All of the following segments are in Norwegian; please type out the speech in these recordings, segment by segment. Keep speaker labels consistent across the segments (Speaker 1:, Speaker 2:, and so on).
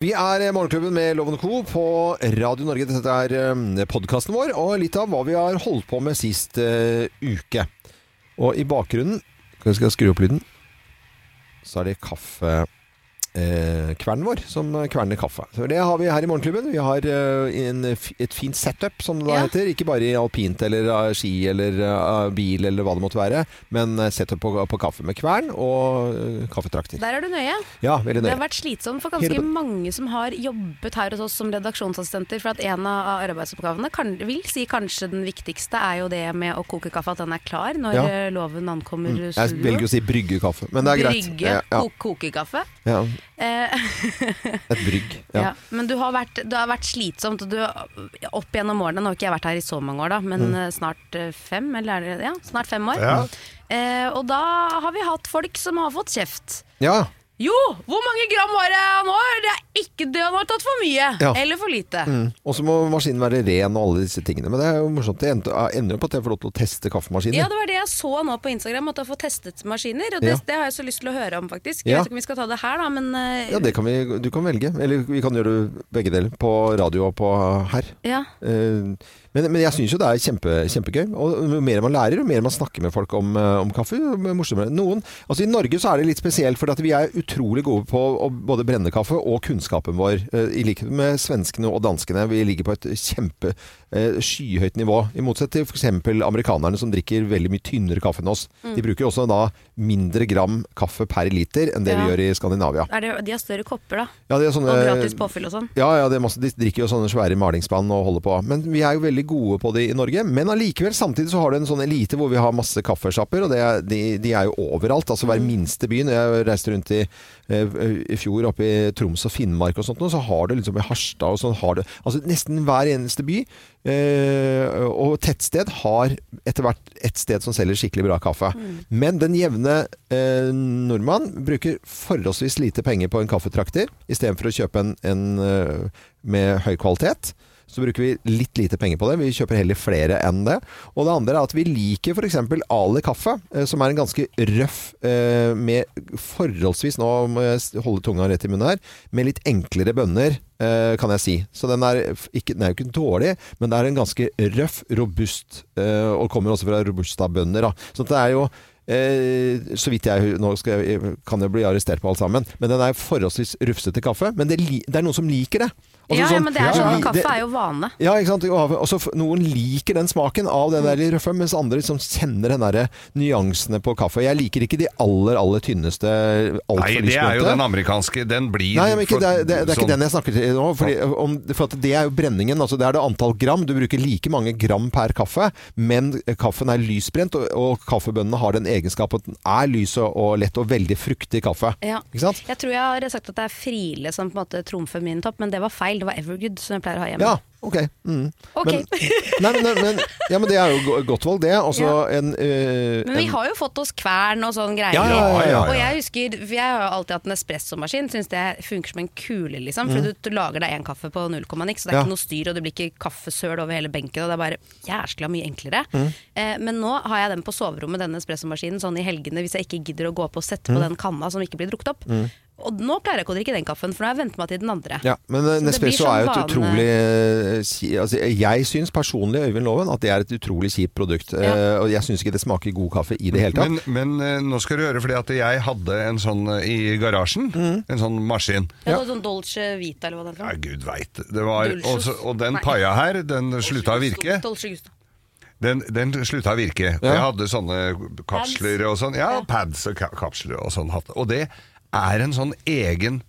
Speaker 1: Vi er eh, Morgenklubben med Loven Co. på Radio Norge. Dette er podkasten vår, og litt av hva vi har holdt på med sist eh, uke. Og i bakgrunnen Skal jeg skru opp lyden? Så er det kaffe... Eh, kvernen vår, som kverner kaffe. Så det har vi her i Morgenklubben. Vi har eh, en, f- et fint setup, som det da
Speaker 2: Ja.
Speaker 1: heter. Ikke bare i alpint eller eh, ski eller eh, bil eller hva det måtte være, men eh, setup på, på kaffe med kvern og eh, kaffetrakter.
Speaker 2: Der er du nøye.
Speaker 1: Ja, veldig
Speaker 2: Det
Speaker 1: nøye.
Speaker 2: har vært slitsomt for ganske
Speaker 1: Hele-
Speaker 2: mange som har jobbet her hos oss som redaksjonsassistenter, for at en av arbeidsoppgavene, kan, vil si kanskje den viktigste, er jo det med å koke kaffe, at den er klar når
Speaker 1: Ja.
Speaker 2: eh, loven ankommer
Speaker 1: Mm. Jeg velger å si bryggekaffe, men det er greit.
Speaker 2: Brygge,
Speaker 1: Ja, ja,
Speaker 2: ko- koke kaffe.
Speaker 1: ja.
Speaker 2: Eh,
Speaker 1: Et brygg.
Speaker 2: ja.
Speaker 1: Ja.
Speaker 2: Men du har vært, det har vært slitsomt. og Du, opp gjennom årene, nå har ikke jeg vært her i så mange år, da, men
Speaker 1: Mm.
Speaker 2: eh, snart eh, fem, eller er det, ja, snart fem år.
Speaker 3: Ja.
Speaker 2: Eh, og da har vi hatt folk som har fått kjeft.
Speaker 1: ja.
Speaker 2: Jo, hvor mange gram var det han har? Det er ikke det han har tatt for mye.
Speaker 1: Ja.
Speaker 2: Eller for lite.
Speaker 1: Mm. Og så må maskinen være ren og alle disse tingene. Men det er jo morsomt. Det endte- ender jo på at jeg får lov til å teste
Speaker 2: Ja,
Speaker 1: kaffemaskiner.
Speaker 2: det var det jeg så nå på Instagram, at du har fått testet maskiner. Og det,
Speaker 1: Ja.
Speaker 2: det har jeg så lyst til å høre om, faktisk.
Speaker 1: Ja.
Speaker 2: Jeg vet ikke om vi skal ta det her, da, men eh,
Speaker 1: Ja, det kan vi, du kan velge. Eller vi kan gjøre det begge deler. På radio og på her.
Speaker 2: ja.
Speaker 1: Eh, Men, men jeg syns jo det er kjempe, kjempegøy. Og jo mer man lærer, jo mer man snakker med folk om, eh, om kaffe, jo morsommere. Noen, altså I Norge så er det litt spesielt, for at vi er utrolig gode på å både brenne kaffe og kunnskapen vår. eh, I likhet med svenskene og danskene. Vi ligger på et kjempe eh, skyhøyt nivå. I motsetning til f.eks. amerikanerne som drikker veldig mye tynnere kaffe enn oss.
Speaker 2: Mm.
Speaker 1: De bruker også da mindre gram kaffe per liter enn det vi
Speaker 2: Ja.
Speaker 1: gjør i Skandinavia.
Speaker 2: Er det, de har større kopper, da.
Speaker 1: Ja, det er sånne-
Speaker 2: Og gratis påfyll og sånn.
Speaker 1: ja, ja det er masse, de drikker jo sånne svære malingsspann og holder på. Men vi er jo veldig gode på det i Norge. Men allikevel, samtidig så har du en sånn elite hvor vi har masse kaffesjapper, og det er, de, de er jo overalt. Altså hver minste by. Når jeg reiste rundt i, eh, i fjor oppe i Troms og Finnmark og sånt, nå, så har du liksom i Harstad og sånn har du Altså nesten hver eneste by eh, og tettsted har etter hvert et sted som selger skikkelig bra kaffe. Men den jevne eh, nordmann bruker forholdsvis lite penger på en kaffetrakter. Istedenfor å kjøpe en, en eh, med høy kvalitet, så bruker vi litt lite penger på det. Vi kjøper heller flere enn det. Og det andre er at vi liker f.eks. Ali kaffe, eh, som er en ganske røff eh, med forholdsvis Nå må jeg s- holde tunga rett i munnen her. Med litt enklere bønner, eh, kan jeg si. Så den er, f- ikke, den er jo ikke dårlig, men det er en ganske røff, robust, eh, og kommer også fra robusta-bønder. da. Så det er jo Eh, så vidt jeg Nå skal jeg, eh, kan jeg bli arrestert på alt sammen. Men den er forholdsvis rufsete kaffe. Men det, li- det er noen som liker det. Altså
Speaker 2: ja, ja,
Speaker 1: sånn-
Speaker 2: men det er sånn,
Speaker 1: vi- det-
Speaker 2: kaffe er jo vane.
Speaker 1: ja, ikke sant? Og og så f- noen liker den smaken av den der litt røffe, mens andre liksom kjenner den der nyansene på kaffe. Jeg liker ikke de aller, aller tynneste,
Speaker 3: Nei,
Speaker 1: altfor
Speaker 3: det er jo den
Speaker 1: lysbrente.
Speaker 3: amerikanske. Den blir
Speaker 1: Nei, men ikke, det, er, det, er- det er ikke
Speaker 3: sånn-
Speaker 1: den jeg snakker til nå. Fordi, om, for at det er jo brenningen. Altså det er det antall gram. Du bruker like mange gram per kaffe, men kaffen er lysbrent, og, og kaffebønnene har den egenskap at den er lys og, og lett og veldig fruktig kaffe.
Speaker 2: Ja.
Speaker 1: Ikke sant?
Speaker 2: Jeg tror jeg har sagt at det er Friele som på en måte trumfer min topp, men det var feil. Det var Evergood som jeg pleier å ha hjemme.
Speaker 1: Ja, ok. Mm.
Speaker 2: Ok.
Speaker 1: Men, nei, men, men, ja, men det er jo go- godt valg, det. Også en, eh,
Speaker 2: Men vi
Speaker 1: en
Speaker 2: har jo fått oss kvern og sånn greier.
Speaker 1: Ja, ja, ja, ja, ja.
Speaker 2: Og jeg husker, for jeg har jo alltid hatt en espressomaskin, syns det funker som en kule, liksom. For du lager deg én kaffe på null komma niks, så det er
Speaker 1: Mm. Ja.
Speaker 2: ikke noe styr, og det blir ikke kaffesøl over hele benken, og det er bare jæskla mye enklere.
Speaker 1: Mm.
Speaker 2: Eh, men nå har jeg den på soverommet, denne espressomaskinen, sånn i helgene hvis jeg ikke gidder å gå opp og sette på
Speaker 1: Mm.
Speaker 2: den kanna som ikke blir drukket opp. Og nå pleier jeg ikke å drikke den kaffen, for nå har jeg vent meg til den andre.
Speaker 1: Ja, men eh,
Speaker 2: det blir
Speaker 1: Nespresso
Speaker 2: sånn
Speaker 1: er jo et
Speaker 2: vane-
Speaker 1: utrolig eh, ki- altså, Jeg syns personlig, Øyvind Loven, at det er et utrolig kjipt produkt. eh, Og jeg syns ikke det smaker god kaffe i det hele tatt.
Speaker 3: Men, men eh, nå skal du høre, fordi at jeg hadde en sånn eh, i garasjen.
Speaker 1: Mm.
Speaker 3: En sånn maskin.
Speaker 2: Jeg har sånn Dolce Vita eller hva det
Speaker 3: Ja,
Speaker 2: heter.
Speaker 3: gud veit. Det var,
Speaker 2: Dulcios.
Speaker 3: og, så, og den
Speaker 2: Nei.
Speaker 3: paia her, den slutta å virke.
Speaker 2: Dolce Gusto.
Speaker 3: Den, den slutta å virke. Og
Speaker 1: Ja.
Speaker 3: Jeg hadde sånne kapsler og sånn. Ja, pads og ka- kapsler og sånn. hatt. Og det er en sånn egen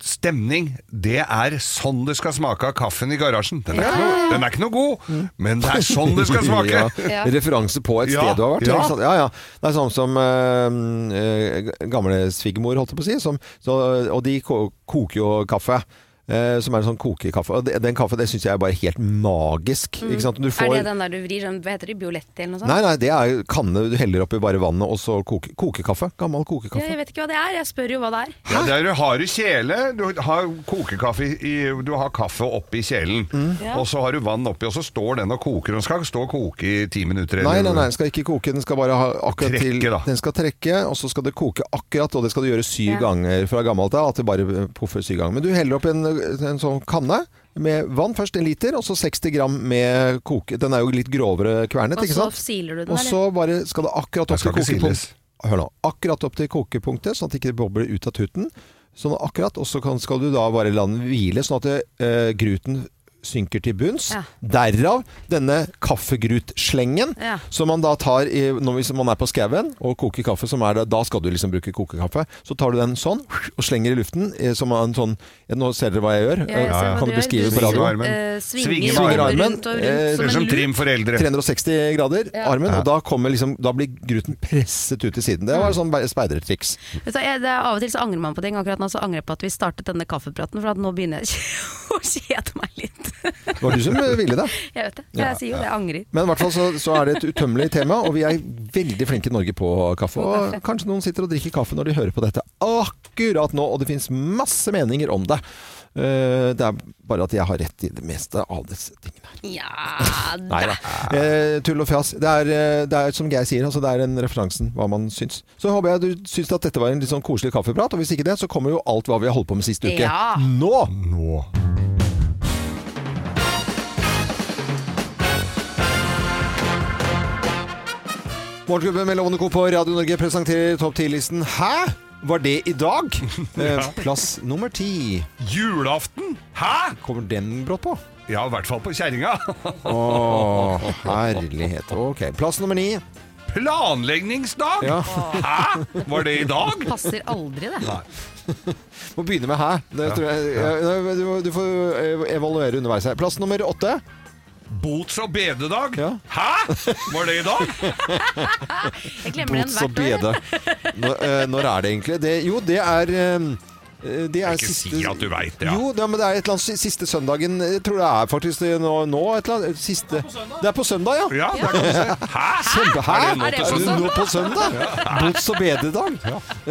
Speaker 3: stemning. Det er sånn det skal smake av kaffen i garasjen. Den er, ikke, noe, den er ikke noe god, men det er sånn det skal smake!
Speaker 2: Ja.
Speaker 1: Ja, Referanse på et
Speaker 3: Ja,
Speaker 1: sted du har vært.
Speaker 3: ja.
Speaker 1: ikke sant? Ja, ja. Det er sånn som eh, eh, gamle svigermor, holdt jeg på å si. Som, så, og de ko koker jo kaffe. eh, som er en sånn kokekaffe. Og det- den kaffen det syns jeg er bare helt magisk. Ikke sant? Du får,
Speaker 2: Mm. Er det den der du vrir sånn, hva heter det, Bioletti eller noe sånt?
Speaker 1: Nei, nei, det er jo kanne du heller oppi bare vannet, og så koke, kokekaffe. Gammel
Speaker 2: Ja,
Speaker 1: kokekaffe.
Speaker 2: jeg vet ikke hva det er, jeg spør jo hva det er.
Speaker 3: Ja, det er, du har du kjele, du har kokekaffe i, Du har kaffe oppi kjelen,
Speaker 1: Mm.
Speaker 2: Ja.
Speaker 3: og så har du vann oppi, og så står den og koker. Den skal ikke stå og koke i ti minutter.
Speaker 1: Nei,
Speaker 3: eller-
Speaker 1: nei, nei, den skal ikke koke, den skal bare ha akkurat
Speaker 3: Trekke,
Speaker 1: til
Speaker 3: da.
Speaker 1: Den skal trekke, og så skal det koke akkurat, og det skal du gjøre syv
Speaker 2: Ja.
Speaker 1: ganger fra gammelt av. At det bare eh, poffer syv ganger. Men du heller opp en, en sånn kanne med vann først, en liter, og så 60 gram med koke... Den er jo litt grovere kvernet,
Speaker 2: Og
Speaker 1: ikke
Speaker 2: så
Speaker 1: sant?
Speaker 2: siler du den,
Speaker 1: Og
Speaker 2: eller?
Speaker 1: så bare skal det akkurat
Speaker 3: Den
Speaker 1: opp
Speaker 3: skal
Speaker 1: til
Speaker 3: ikke
Speaker 1: kokepunkt.
Speaker 3: siles.
Speaker 1: Hør nå. Akkurat opp til kokepunktet, sånn at det ikke bobler ut av tuten. Sånn akkurat, Og så kan, skal du da bare la den hvile, sånn at det, eh, gruten synker til bunns.
Speaker 2: Ja.
Speaker 1: Derav denne kaffegrutsllengen,
Speaker 2: Ja.
Speaker 1: som man da tar i, når, hvis man er på skauen og koker kaffe. Som er det, da skal du liksom bruke kokekaffe. Så tar du den sånn og slenger i luften. eh, Som en sånn ja, Nå ser dere hva jeg gjør.
Speaker 2: Ja, jeg
Speaker 1: Eh,
Speaker 2: ser hva
Speaker 1: Kan
Speaker 2: du
Speaker 1: du
Speaker 2: gjør.
Speaker 1: beskrive
Speaker 2: Du
Speaker 1: på
Speaker 3: Svinger
Speaker 1: radioen?
Speaker 3: armen.
Speaker 2: Eh,
Speaker 3: Svinger
Speaker 2: svinger
Speaker 1: armen.
Speaker 2: armen rundt og
Speaker 1: Eh,
Speaker 2: rundt
Speaker 3: Det er
Speaker 2: som
Speaker 3: som
Speaker 2: en
Speaker 3: trim
Speaker 2: lur.
Speaker 3: for eldre.
Speaker 1: 360 grader,
Speaker 2: Ja.
Speaker 1: armen, og da, kommer liksom, da blir gruten presset ut til siden. Det var et sånn be- speidertriks.
Speaker 2: Vet du, jeg, det er av og til så angrer man på ting. Akkurat nå så angrer jeg på at vi startet denne kaffepraten, for at nå begynner jeg å kjede meg litt.
Speaker 1: Det var du som eh, ville det.
Speaker 2: Jeg vet det. Jeg
Speaker 1: Ja,
Speaker 2: sier jo det, jeg angrer.
Speaker 1: Men i hvert fall så, så er det et utømmelig tema, og vi er veldig flinke i Norge på kaffe. Og kanskje noen sitter og drikker kaffe når de hører på dette akkurat nå, og det finnes masse meninger om det. Eh, Det er bare at jeg har rett i det meste av disse tingene.
Speaker 2: Ja
Speaker 1: Nei da. Eh, tull og fjas. Det er, eh, det er som Geir sier, altså, det er en referansen hva man syns. Så håper jeg du syns at dette var en litt sånn koselig kaffeprat, og hvis ikke det, så kommer jo alt hva vi har holdt på med sist uke.
Speaker 2: Ja.
Speaker 1: Nå!
Speaker 3: Nå.
Speaker 1: Morgenklubben med Lovende Co på Radio Norge presenterer topp 10-listen. Hæ? Var det i dag? Eh, Plass nummer ti.
Speaker 3: Julaften? Hæ?!
Speaker 1: Kommer den brått på?
Speaker 3: Ja, i hvert fall på kjerringa.
Speaker 1: Å, herlighet. Ok. Plass nummer ni.
Speaker 3: Planleggingsdag?
Speaker 1: Ja.
Speaker 3: Hæ?! Var det i dag?
Speaker 2: Passer aldri, det.
Speaker 1: Må begynne med hæ. Det tror jeg, eh, du, du får eh, evaluere underveis her. Plass nummer åtte.
Speaker 3: Bots- og bededag?
Speaker 1: Ja.
Speaker 3: Hæ?! Var det i dag?
Speaker 2: Jeg glemmer den hvert år. jeg.
Speaker 1: Når, eh, når er det egentlig? Det, jo, det er eh, eh, det er
Speaker 3: Ikke
Speaker 1: siste,
Speaker 3: si at du veit det. Ja.
Speaker 1: Jo, ja, men det er et eller annet si- siste søndagen Jeg tror det er faktisk det nå, nå et eller annet eh, siste Det er på søndag, ja.
Speaker 3: Ja, der kan du se. Hæ?!
Speaker 1: Kjempe, hæ?
Speaker 3: Er det nå
Speaker 2: Er det på
Speaker 3: til
Speaker 1: Er
Speaker 3: søndag?
Speaker 1: det nå på søndag? Bots- og bededag.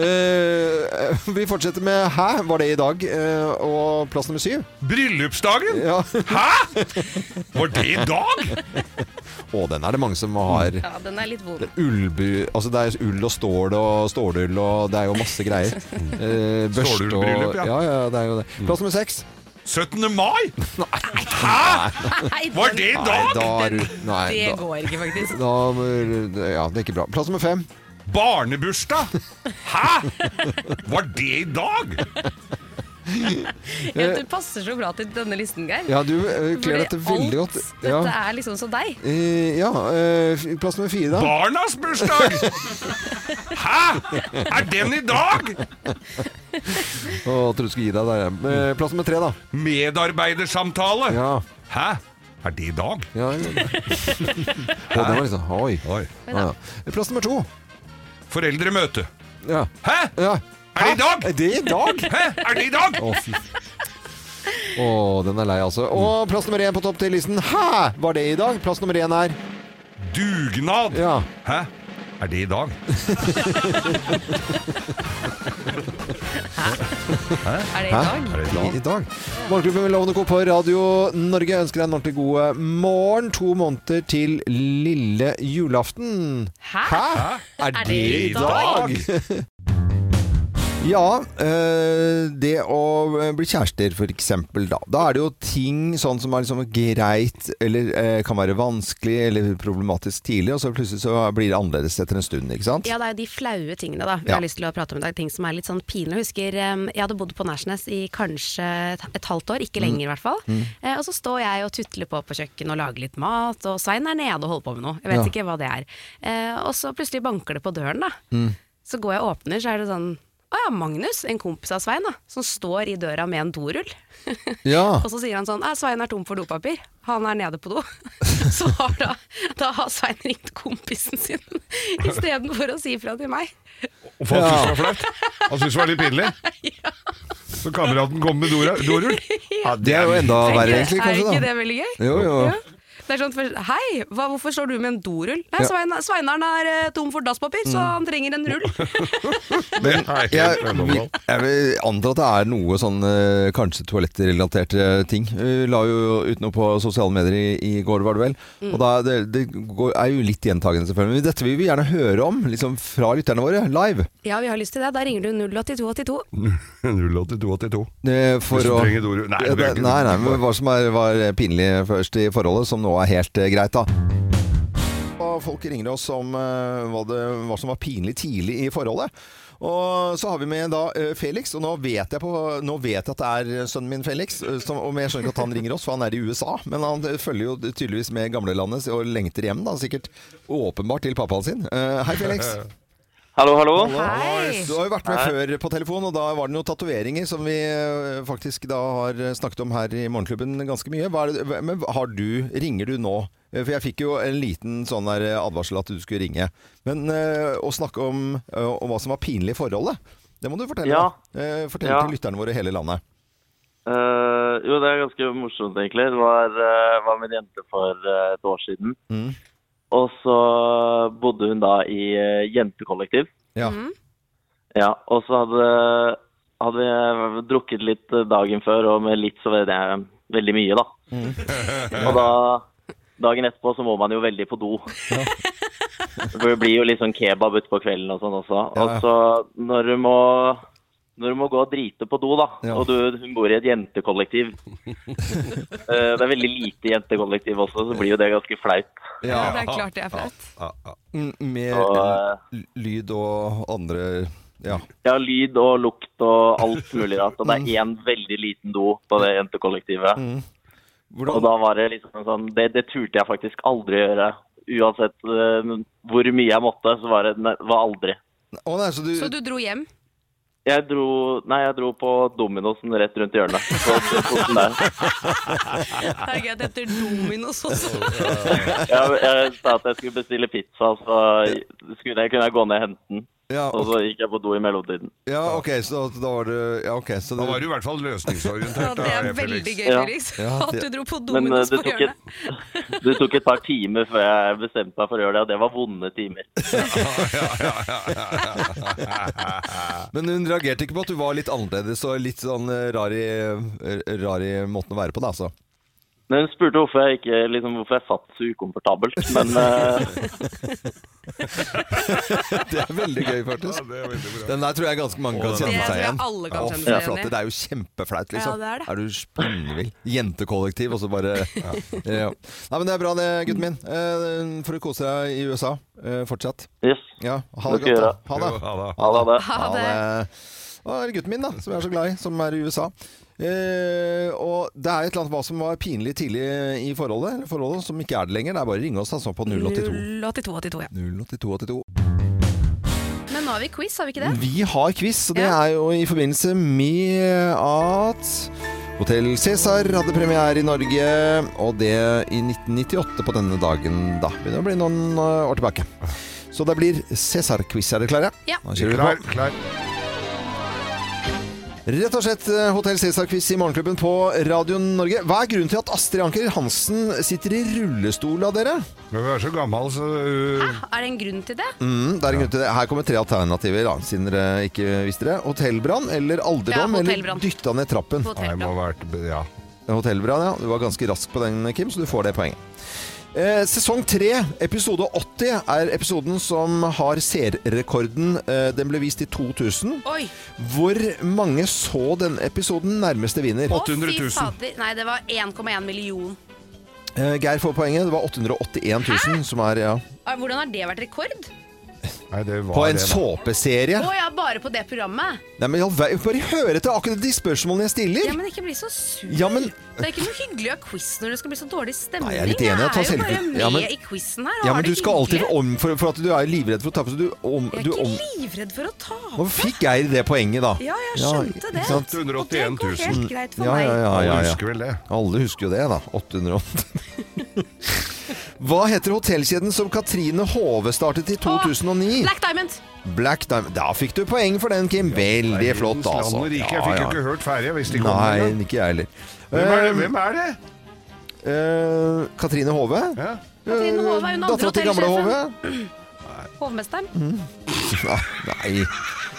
Speaker 1: Eh, vi fortsetter med hæ, var det i dag? Eh, og plass nummer syv.
Speaker 3: Bryllupsdagen?
Speaker 1: Ja.
Speaker 3: Hæ?! Var det i dag?!
Speaker 1: Å, den er det mange som har.
Speaker 2: Ja, den er litt vond.
Speaker 1: Ullbu, altså det er ull og stål og stålull og det er jo masse greier. Eh, børste og
Speaker 3: Stålullbryllup, ja.
Speaker 1: ja. ja. det er jo det. Plass nummer seks.
Speaker 3: 17. mai?
Speaker 2: Nei,
Speaker 3: Var
Speaker 2: den-
Speaker 3: det i
Speaker 1: Nei,
Speaker 3: dag?
Speaker 1: da er du Nei,
Speaker 2: Det
Speaker 1: da,
Speaker 2: går ikke, faktisk.
Speaker 1: da Ja, det er ikke bra. Plass nummer fem.
Speaker 3: Barnebursdag? Hæ?! Var det i dag?!
Speaker 2: Ja, Du passer så bra til denne listen, Geir.
Speaker 1: Ja, du eh,
Speaker 2: Fordi
Speaker 1: kler dette veldig
Speaker 2: alt
Speaker 1: godt.
Speaker 2: Dette
Speaker 1: Ja,
Speaker 2: er liksom så deg.
Speaker 1: Eh, ja eh, plass nummer fire, da.
Speaker 3: Barnas bursdag! Hæ?! Er den i dag?!
Speaker 1: Å, jeg trodde du skulle gi deg der. ja. Eh, Plass nummer tre, da.
Speaker 3: Medarbeidersamtale?
Speaker 1: Ja.
Speaker 3: Hæ?! Er det i dag?
Speaker 1: ja, ja. Å, den var liksom Oi.
Speaker 3: Oi.
Speaker 1: Ja, ja. Plass nummer to.
Speaker 3: Foreldremøte.
Speaker 1: Ja.
Speaker 3: Hæ?!
Speaker 1: ja.
Speaker 3: Er det i dag?!
Speaker 1: Er det i dag?
Speaker 3: Hæ? Er det i dag?!
Speaker 1: Å, fy Å, den er lei, altså. Og plass nummer én på topp til listen. Hæ! Var det i dag? Plass nummer én er
Speaker 3: Dugnad?
Speaker 1: Ja.
Speaker 3: Hæ? Er det i dag?
Speaker 2: Er det i
Speaker 1: Hæ?
Speaker 2: dag?
Speaker 3: Er det i dag?
Speaker 1: I dag. Morgenklubben med Lovende Co på Radio Norge ønsker deg en ordentlig god eh, morgen. To måneder til lille julaften.
Speaker 2: Hæ?
Speaker 1: Er det,
Speaker 2: det
Speaker 1: i
Speaker 2: i
Speaker 1: dag? Ja, eh, det å bli kjærester for eksempel da. Da er det jo ting sånn som er liksom greit, eller eh, kan være vanskelig, eller problematisk tidlig, og så plutselig så blir det annerledes etter en stund, ikke sant?
Speaker 2: Ja, det er jo de flaue tingene da vi
Speaker 1: Ja.
Speaker 2: har lyst til å prate om i dag. Ting som er litt sånn pinlig. Jeg husker em, jeg hadde bodd på Nærsnes i kanskje et, et halvt år,
Speaker 1: Mm.
Speaker 2: ikke lenger i hvert fall. Eh, og så står jeg og tutler på på kjøkkenet og lager litt mat, og Svein er nede og holder på med noe. Jeg vet
Speaker 1: Ja.
Speaker 2: ikke hva det er. Eh, og så plutselig banker det på døren, da.
Speaker 1: Mm.
Speaker 2: Så går jeg og åpner, så er det sånn Å ja, Magnus, en kompis av Svein, da, som står i døra med en dorull.
Speaker 1: Ja.
Speaker 2: Og så sier han sånn «Nei, Svein er tom for dopapir. Han er nede på do. Så har da, da har Svein ringt kompisen sin istedenfor å si ifra til meg.
Speaker 3: Og
Speaker 1: Ja.
Speaker 3: folk syntes det var flaut. Han syntes det var litt pinlig. Så kameraten kom med dora- dorull.
Speaker 1: Ja, det er jo enda verre, egentlig.
Speaker 2: er
Speaker 1: kanskje
Speaker 2: ikke
Speaker 1: da.
Speaker 2: det veldig gøy?
Speaker 1: Jo, jo.
Speaker 2: Ja. Det er sånn, først, Hei, hva, hvorfor står du med en dorull? Nei,
Speaker 1: Ja. Mm.
Speaker 2: Svein, Sveinaren er eh, tom for dasspapir, så han trenger en rull.
Speaker 3: Det er helt
Speaker 1: Jeg,
Speaker 3: fenomenalt.
Speaker 1: jeg vil anta at det er noe sånn eh, kanskje toalettrelaterte ting. Vi la jo ut noe på sosiale medier i, i går, var det vel.
Speaker 2: Mm.
Speaker 1: Og da, det, det går, er jo litt gjentagende, selvfølgelig. Men dette vil vi gjerne høre om liksom fra lytterne våre live.
Speaker 2: Ja, vi har lyst til det. Da ringer du 08282.
Speaker 3: 08282.
Speaker 1: Eh, For
Speaker 3: Hvis du
Speaker 1: å,
Speaker 3: trenger et ord-
Speaker 1: Ja,
Speaker 3: Nei, du trenger
Speaker 1: det-
Speaker 3: ikke-
Speaker 1: nei, nei, men hva som er, var pinlig først i forholdet, som nå er helt eh, greit, da. Og folk ringer oss om eh, hva, det, hva som var pinlig tidlig i forholdet. Og så har vi med da eh, Felix, og nå vet jeg, på, nå vet jeg at det er sønnen min Felix. eh, Som, og jeg skjønner ikke at han ringer oss, for han er i USA. Men han eh, følger jo tydeligvis med gamlelandet og lengter hjem, da, sikkert åpenbart til pappaen sin. Eh, hei, Felix.
Speaker 4: Hallo, hallo.
Speaker 2: Hei!
Speaker 1: Du har jo vært med før på telefon, og da var det noen tatoveringer som vi eh, faktisk da har eh, snakket om her i Morgenklubben ganske mye. Hva er det, men har du, ringer du nå? Eh, For jeg fikk jo en liten sånn der advarsel at du skulle ringe. Men eh, å snakke om, eh, om hva som var pinlig i forholdet, det må du fortelle.
Speaker 4: Ja.
Speaker 1: da. Eh, Fortell
Speaker 4: Ja.
Speaker 1: til lytterne våre i hele landet.
Speaker 4: Eh, jo, det er ganske morsomt, egentlig. Det var, eh, var min jente for eh, et år siden.
Speaker 1: Mm.
Speaker 4: Og så bodde hun da i eh, jentekollektiv.
Speaker 1: Ja.
Speaker 2: Mm.
Speaker 4: Ja, og så hadde, hadde vi drukket litt eh, dagen før, og med litt så var det veldig mye, da.
Speaker 1: Mm.
Speaker 4: Og da Dagen etterpå så må man jo veldig på do. For det blir jo litt sånn kebab utpå kvelden og sånn også.
Speaker 1: Ja,
Speaker 4: Og
Speaker 1: ja.
Speaker 4: så når du må når du må gå og drite på do, da,
Speaker 1: Ja.
Speaker 4: og du, hun bor i et jentekollektiv Eh, Det er veldig lite jentekollektiv også, så blir jo det ganske flaut.
Speaker 2: Ja, det er klart det er flaut.
Speaker 1: Mm, Med
Speaker 4: Og, eh,
Speaker 1: l- lyd og andre Ja.
Speaker 4: Ja, lyd og lukt og alt mulig rart. Og det
Speaker 1: Mm.
Speaker 4: er én veldig liten do på det jentekollektivet. Og
Speaker 1: Hvordan,
Speaker 4: da var det liksom en sånn Det, det turte jeg faktisk aldri gjøre. Uansett eh, hvor mye jeg måtte, så var det nei, var aldri.
Speaker 1: å nei, så du,
Speaker 2: Så du dro hjem?
Speaker 4: Jeg dro Nei, jeg dro på Dominosen rett rundt hjørnet. Så, så, sånn der.
Speaker 2: Herregud, det heter Dominos også.
Speaker 4: Jeg, jeg sa at jeg skulle bestille pizza, så skulle jeg, kunne jeg gå ned og hente den.
Speaker 1: ja,
Speaker 4: Og så gikk jeg på do i mellomtiden.
Speaker 1: ja, OK, så da var du Ja, OK. Så
Speaker 3: Da
Speaker 1: du,
Speaker 3: var du i hvert fall løsningsorientert.
Speaker 2: Ja, det er
Speaker 3: da, Felix.
Speaker 2: veldig gøy,
Speaker 4: Ja.
Speaker 2: Felix.
Speaker 1: Ja,
Speaker 2: At
Speaker 1: det-
Speaker 2: du dro på
Speaker 4: Men eh,
Speaker 2: Dominos
Speaker 4: det
Speaker 2: på
Speaker 4: tok,
Speaker 2: hjørnet.
Speaker 4: et, det tok et par timer før jeg bestemte meg for å gjøre det, og det var vonde timer.
Speaker 1: Men hun reagerte ikke på at du var litt annerledes og litt sånn eh, rar i, eh, rar i måten å være på, da, altså.
Speaker 4: Men hun spurte hvorfor jeg, ikke, liksom, hvorfor jeg satt så ukomfortabelt. Men eh,
Speaker 1: Det er veldig gøy,
Speaker 3: Ja,
Speaker 1: faktisk.
Speaker 3: det er veldig bra.
Speaker 1: Den der tror jeg ganske mange kan
Speaker 2: den
Speaker 1: kjenne
Speaker 2: er-
Speaker 1: seg
Speaker 2: Det tror jeg
Speaker 1: igjen.
Speaker 2: alle kan
Speaker 1: Å,
Speaker 2: kjenne seg
Speaker 1: fy
Speaker 2: igjen
Speaker 1: flate,
Speaker 2: i.
Speaker 1: Det er jo kjempeflaut, liksom.
Speaker 2: Ja, det er det.
Speaker 1: du spinnvill? Jentekollektiv, og så bare ja. Nei, men det er bra det, gutten min. Eh, For å kose deg i USA eh, fortsatt.
Speaker 4: yes.
Speaker 1: Ja, ha det
Speaker 4: Takk,
Speaker 1: godt. da.
Speaker 4: Jøra.
Speaker 1: Ha det.
Speaker 3: Jo, ha det.
Speaker 4: Ha det. ha det.
Speaker 2: Ha det.
Speaker 1: Og det er gutten min, da, som jeg er så glad i, som er i USA. Eh, og det er et eller annet hva som var pinlig tidlig i forholdet, eller forholdet som ikke er det lenger. Det er bare å ringe oss, altså, på 082.
Speaker 2: 08282, ja.
Speaker 1: 08282.
Speaker 2: Men nå har vi quiz, har vi ikke det?
Speaker 1: Vi har quiz, og det
Speaker 2: Ja.
Speaker 1: er jo i forbindelse med at Hotell Cæsar hadde premiere i Norge, og det i 1998 på denne dagen, da. Begynner å bli noen eh, år tilbake. Så det blir Cæsar-quiz. Er dere klare?
Speaker 2: Ja.
Speaker 1: Da kjører vi på.
Speaker 3: Klar, klar.
Speaker 1: Rett og slett eh, Hotell Cæsar-quiz i Morgenklubben på Radio Norge. Hva er grunnen til at Astrid Anker Hansen sitter i rullestol av dere?
Speaker 3: Men hun er så gammel, så uh,
Speaker 2: Ah, Er det en grunn til det?
Speaker 1: Mm, det er en grunn til det. Her kommer tre alternativer, da, siden dere ikke visste det. Hotellbrann eller alderdom
Speaker 2: Ja,
Speaker 1: eller
Speaker 2: hotellbrann.
Speaker 1: dytta ned trappen.
Speaker 2: På
Speaker 3: Nei, må
Speaker 2: hotellplan.
Speaker 3: ha vært Ja.
Speaker 1: Hotellbrann, ja. Du var ganske rask på den, Kim, så du får det poenget. Eh, sesong tre, episode 80, er episoden som har seerrekorden. Eh, den ble vist i 2000.
Speaker 2: Oi!
Speaker 1: Hvor mange så den episoden? Nærmeste vinner.
Speaker 2: Å,
Speaker 3: 800 000.
Speaker 2: fy fader. Nei, det var 1,1 million.
Speaker 1: Eh, Geir får poenget. Det var 881 000 som er ja.
Speaker 2: Ah, Hvordan har det vært rekord?
Speaker 3: Nei, det var
Speaker 1: På en
Speaker 3: det, da.
Speaker 1: såpeserie.
Speaker 2: Å ja, bare på det programmet?
Speaker 1: Nei, men i all ver- Bare hør etter akkurat de spørsmålene jeg stiller.
Speaker 2: Ja, men ikke bli så sur.
Speaker 1: Ja, men-
Speaker 2: Det er ikke noe hyggelig å ha quiz når det skal bli så dårlig stemning.
Speaker 1: Nei, jeg er litt enig,
Speaker 2: Jeg
Speaker 1: jeg tar
Speaker 2: er jo bare
Speaker 1: selvkritikk.
Speaker 2: med
Speaker 1: Ja, men-
Speaker 2: i quizen her. og
Speaker 1: Ja,
Speaker 2: har
Speaker 1: men du
Speaker 2: det
Speaker 1: skal alltid
Speaker 2: hyggelig.
Speaker 1: om for, for at du er livredd for å tape. Så du om,
Speaker 2: Jeg er
Speaker 1: du
Speaker 2: ikke
Speaker 1: om
Speaker 2: livredd for å tape.
Speaker 1: Nå fikk Geir det poenget, da.
Speaker 2: Ja, jeg skjønte det.
Speaker 1: ikke sant?
Speaker 2: Og det
Speaker 3: 181
Speaker 2: går
Speaker 3: 000.
Speaker 2: helt greit for
Speaker 1: Ja, ja, ja,
Speaker 3: Alle
Speaker 1: ja, ja.
Speaker 3: husker vel det.
Speaker 1: Alle husker jo det, da. 880. Hva heter hotellkjeden som Katrine Hove startet i 2009?
Speaker 2: meg. Black Diamond!
Speaker 1: Black Diamond. Da fikk du poeng for den, Kim. Veldig flott,
Speaker 3: Verdens
Speaker 1: altså.
Speaker 3: Land og rike. Jeg
Speaker 1: Ja,
Speaker 3: fikk jo
Speaker 1: ja.
Speaker 3: ikke hørt ferdig hvis de kom.
Speaker 1: Nei,
Speaker 3: engang.
Speaker 1: ikke jeg heller.
Speaker 3: Hvem er det? Hvem er det?
Speaker 1: Eh, Katrine Hove.
Speaker 3: Ja.
Speaker 2: Katrine Hove er hun andre
Speaker 1: Dattera til gamle Mm. Hove.
Speaker 2: hotellsjefen. Hovmesteren.
Speaker 1: Nei.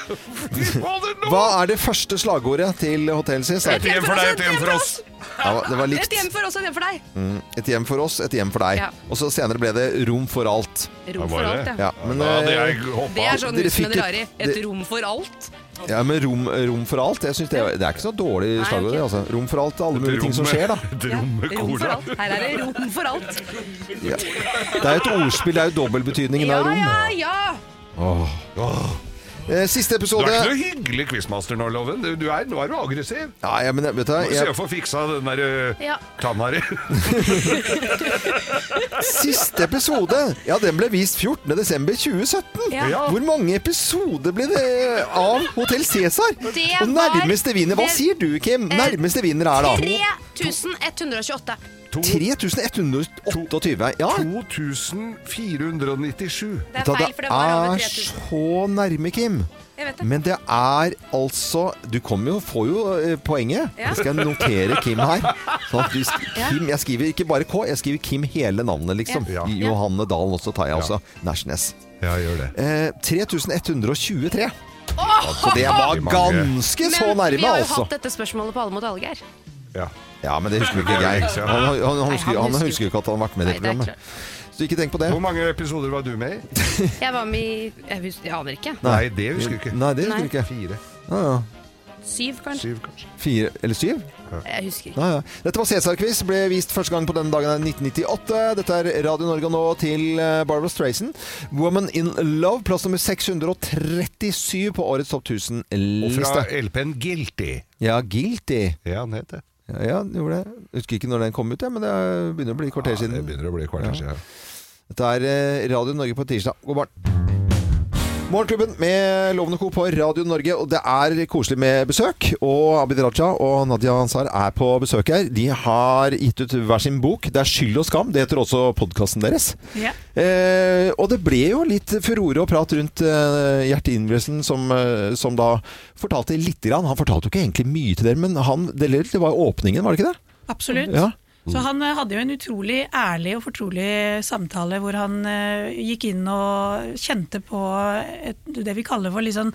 Speaker 3: Fader, nå!
Speaker 1: Hva er det første slagordet til hotellet sitt?
Speaker 3: Et hjem for deg, et hjem for oss.
Speaker 1: Ja, det var
Speaker 2: Et
Speaker 1: likt.
Speaker 2: hjem for oss og et hjem for deg.
Speaker 1: Et hjem for oss, et hjem for deg.
Speaker 2: Ja.
Speaker 1: Og så senere ble det Rom for alt.
Speaker 2: Rom
Speaker 3: var
Speaker 2: for alt,
Speaker 3: det.
Speaker 2: ja.
Speaker 1: Ja, men,
Speaker 3: Ja, det er
Speaker 1: eh,
Speaker 2: Det
Speaker 3: hoppa.
Speaker 2: er sånn
Speaker 1: Dere
Speaker 2: hus med
Speaker 1: fikk et-
Speaker 2: rari. Et rom for alt.
Speaker 1: ja, men rom, eh, rom for alt, jeg synes det, det er ikke så dårlig
Speaker 2: Nei,
Speaker 1: slagord.
Speaker 2: ok.
Speaker 1: Altså. Rom for alt, alle mulige ting som skjer, da.
Speaker 3: Et
Speaker 2: Ja,
Speaker 3: rom med
Speaker 2: rom for
Speaker 3: cola.
Speaker 2: alt. Her er det rom for alt.
Speaker 1: Det er jo et ordspill, det er jo dobbeltbetydningen
Speaker 2: Ja,
Speaker 1: av rom.
Speaker 2: ja, ja.
Speaker 1: Eh, Siste
Speaker 3: Du
Speaker 1: episode
Speaker 3: er ikke noe hyggelig quizmaster nå, Loven. Du, du er, nå er du aggressiv.
Speaker 1: Nei, ja, men vet du,
Speaker 3: Må du se
Speaker 1: jeg,
Speaker 3: å få fiksa den der eh,
Speaker 2: Ja.
Speaker 3: tanna di.
Speaker 1: Siste episode! Ja, den ble vist 14.12.2017.
Speaker 2: Ja.
Speaker 3: Ja.
Speaker 1: Hvor mange episoder ble det av Hotell Cæsar?
Speaker 2: Det
Speaker 1: Og nærmeste
Speaker 2: var-
Speaker 1: vinner Hva
Speaker 2: det- Eh,
Speaker 1: sier du, Kim? Nærmeste vinner er da
Speaker 2: 3128.
Speaker 1: 3128. Ja,
Speaker 3: 2497.
Speaker 2: Det er
Speaker 1: Da
Speaker 2: feil, for det var over
Speaker 1: er
Speaker 2: 3000.
Speaker 1: så nærme, Kim.
Speaker 2: Jeg vet det.
Speaker 1: Men det er altså Du kommer jo, får jo eh, poenget.
Speaker 2: Ja.
Speaker 1: Jeg skal notere Kim her. Sånn at du, sk- Kim, jeg skriver ikke bare K, jeg skriver Kim hele navnet, liksom.
Speaker 3: Ja. Ja.
Speaker 1: Johanne Dalen også tar jeg også. Nærsnes.
Speaker 3: Ja, gjør det.
Speaker 1: Eh, 3123. Så det var
Speaker 3: Mange.
Speaker 1: ganske så
Speaker 2: Men vi
Speaker 1: nærme,
Speaker 2: har jo
Speaker 1: altså.
Speaker 2: hatt dette spørsmålet på Alle mot alle, Geir.
Speaker 3: Ja.
Speaker 1: Ja, men det husker ikke
Speaker 3: Det er
Speaker 1: Geir.
Speaker 3: lenge siden.
Speaker 1: Han, han, han,
Speaker 2: han
Speaker 1: husker, han
Speaker 2: husker
Speaker 1: husker jo ikke at han har vært med i
Speaker 2: Nei,
Speaker 1: det
Speaker 2: det er
Speaker 1: programmet. Så ikke tenk på det.
Speaker 3: Hvor mange episoder var du med i?
Speaker 2: Jeg var med i Jeg, hus- jeg aner ikke.
Speaker 3: Nei, det husker du ikke.
Speaker 1: Nei, det husker du ikke.
Speaker 3: Fire,
Speaker 1: Ja, ja.
Speaker 2: Syv, kanskje?
Speaker 3: syv kanskje.
Speaker 1: Fire eller syv?
Speaker 2: Jeg husker ikke.
Speaker 1: Ja, ja. Dette var Cæsar-quiz. Ble vist første gang på denne dagen her i 1998. Dette er Radio Norge nå til eh, Barbara Strayson. 'Woman in Love', plass nummer 637 på årets Topp
Speaker 3: Og fra
Speaker 1: 1000-liste.
Speaker 3: LP-en Guilty.
Speaker 1: Ja, 'Guilty'.
Speaker 3: Ja, han het det.
Speaker 1: Ja, ja, det gjorde det. Jeg Husker ikke når den kom ut, jeg, men det er- begynner å bli et
Speaker 3: Ja,
Speaker 1: kvarter
Speaker 3: det
Speaker 1: siden.
Speaker 3: begynner å bli et kvarter siden.
Speaker 1: Dette er eh, Radio Norge på tirsdag. God morgen. Morgenklubben med Lovende Co. på Radio Norge, og det er koselig med besøk. Og Abid Raja og Nadia Ansar er på besøk her. De har gitt ut hver sin bok. Det er 'Skyld og skam'. Det heter også podkasten deres.
Speaker 2: Ja.
Speaker 1: Eh, og det ble jo litt furore og prat rundt eh, Gjert Ingebrigtsen, som, eh, som da fortalte lite grann. Han fortalte jo ikke egentlig mye til dere, men han, det, det var jo åpningen, var det ikke det?
Speaker 5: Absolutt.
Speaker 1: Ja.
Speaker 5: Så han eh, hadde jo en utrolig ærlig og fortrolig samtale hvor han eh, gikk inn og kjente på et, det vi kaller for litt sånn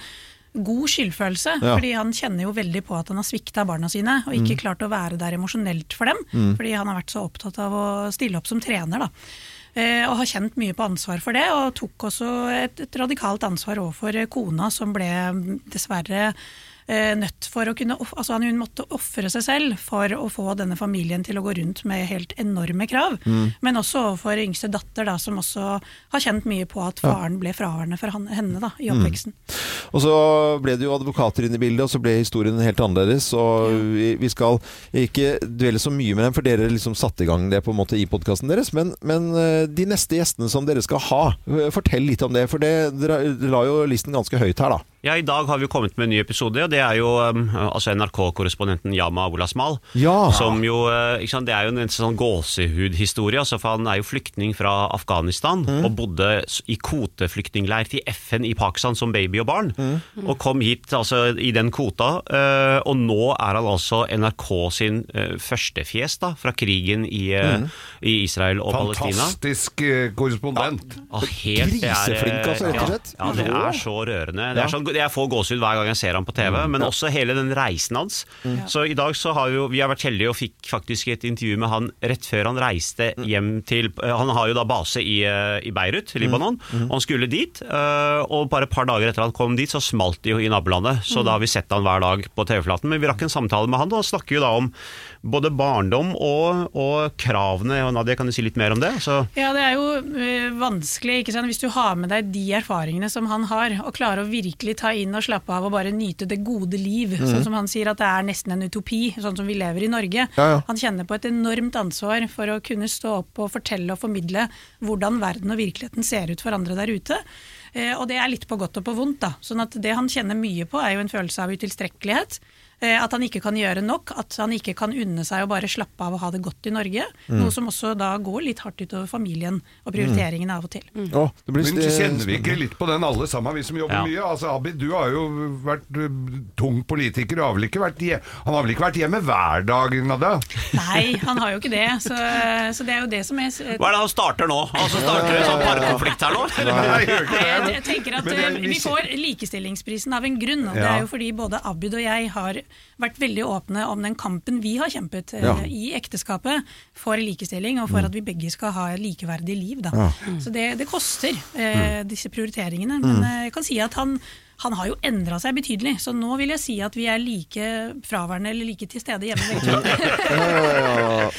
Speaker 5: god skyldfølelse.
Speaker 1: Ja.
Speaker 5: Fordi han kjenner jo veldig på at han har svikta barna sine og ikke klart å være der emosjonelt for dem. Fordi han har vært så opptatt av å stille opp som trener, da. Eh, Og har kjent mye på ansvar for det, og tok også et, et radikalt ansvar overfor eh, kona, som ble mm, dessverre eh, nødt for å kunne off- altså han- Hun måtte ofre seg selv for å få denne familien til å gå rundt med helt enorme krav. Men også overfor yngste datter, da, som også har kjent mye på at faren ble fraværende for han, henne da, i oppveksten.
Speaker 1: Og så ble det jo advokater inn i bildet, og så ble historien helt annerledes. Og vi, vi skal ikke dvele så mye med dem, for dere liksom satte i gang det på en måte i podkasten deres. Men, men eh, de neste gjestene som dere skal ha, eh, fortell litt om det. For det dere la jo listen ganske høyt her, da.
Speaker 6: Ja, I dag har vi jo kommet med en ny episode, og det er jo um, altså NRK-korrespondenten Yama Olasmal.
Speaker 1: Ja.
Speaker 6: Som jo, eh, ikke sant, det er jo en sånn gåsehudhistorie, altså, for han er jo flyktning fra Afghanistan og bodde s- i kvoteflyktningleir til FN i Pakistan som baby og barn, og kom hit altså, i den kvota, eh, og nå er han altså NRK sin eh, førstefjes da, fra krigen i, eh, i Israel og Palestina.
Speaker 3: Fantastisk eh, korrespondent.
Speaker 6: Å, helt, det er-
Speaker 1: Griseflink, altså, rett og
Speaker 6: ja,
Speaker 1: slett.
Speaker 6: Ja, det er så rørende. Det
Speaker 1: Ja. Mm.
Speaker 6: er sånn, jeg får gåsehud hver gang jeg ser ham på TV, men også hele den reisen hans. Så i dag så har vi jo, vi har vært heldige og fikk faktisk et intervju med han rett før han reiste
Speaker 1: Mm.
Speaker 6: hjem til eh, Han har jo da base i, eh, i Beirut, Libanon,
Speaker 1: Mm.
Speaker 6: og han skulle dit. eh, Og bare et par dager etter han kom dit, så smalt det jo i nabolandet.
Speaker 1: Mm.
Speaker 6: Så da har vi sett han hver dag på TV-flaten. Men vi rakk en samtale med han, og han snakker jo da om både barndom og, og kravene. Og Nadia, kan du si litt mer om det? Så
Speaker 5: Ja, det er jo eh, vanskelig ikke sant? hvis du har med deg de erfaringene som han har, og klarer å virkelig ta inn og slappe av og bare nyte det gode liv.
Speaker 1: Mhm.
Speaker 5: Sånn som han sier at det er nesten en utopi, sånn som vi lever i Norge.
Speaker 1: ja.
Speaker 5: Han kjenner på et enormt ansvar for å kunne stå opp og fortelle og formidle hvordan verden og virkeligheten ser ut for andre der ute. Eh, Og det er litt på godt og på vondt, da. Sånn at det han kjenner mye på, er jo en følelse av utilstrekkelighet. eh, At han ikke kan gjøre nok, at han ikke kan unne seg å bare slappe av og ha det godt i Norge. Noe som også da går litt hardt utover familien og prioriteringene av og til.
Speaker 1: Å, det blir
Speaker 3: Men kjenner vi ikke
Speaker 1: spennende.
Speaker 3: litt på den alle sammen, vi som jobber
Speaker 6: Ja.
Speaker 3: mye? Altså, Abid, du har jo vært eh, tung politiker, og har vel ikke vært hje- han har vel ikke vært hjemme hver dag? Nadja?
Speaker 5: Nei, han har jo ikke det. Så, eh, så det er jo det som er
Speaker 6: Hva er det han starter nå? Altså starter en sånn parkonflikt her nå?
Speaker 3: Nei, gjør ikke
Speaker 5: Jeg,
Speaker 3: det.
Speaker 5: jeg tenker at
Speaker 3: Men det- liksom-
Speaker 5: eh, Vi får likestillingsprisen av en grunn. og Det
Speaker 3: Ja.
Speaker 5: er jo fordi både Abid og jeg har vært veldig åpne om den kampen vi har kjempet eh,
Speaker 1: Ja.
Speaker 5: i ekteskapet for likestilling,
Speaker 3: Mm.
Speaker 5: og for at vi begge skal ha likeverdig liv. Da. Så det, det koster,
Speaker 3: Mm.
Speaker 5: eh, disse prioriteringene. Men eh, jeg kan si at han han har jo endra seg betydelig, så nå vil jeg si at vi er like fraværende eller like til stede hjemme. begge to.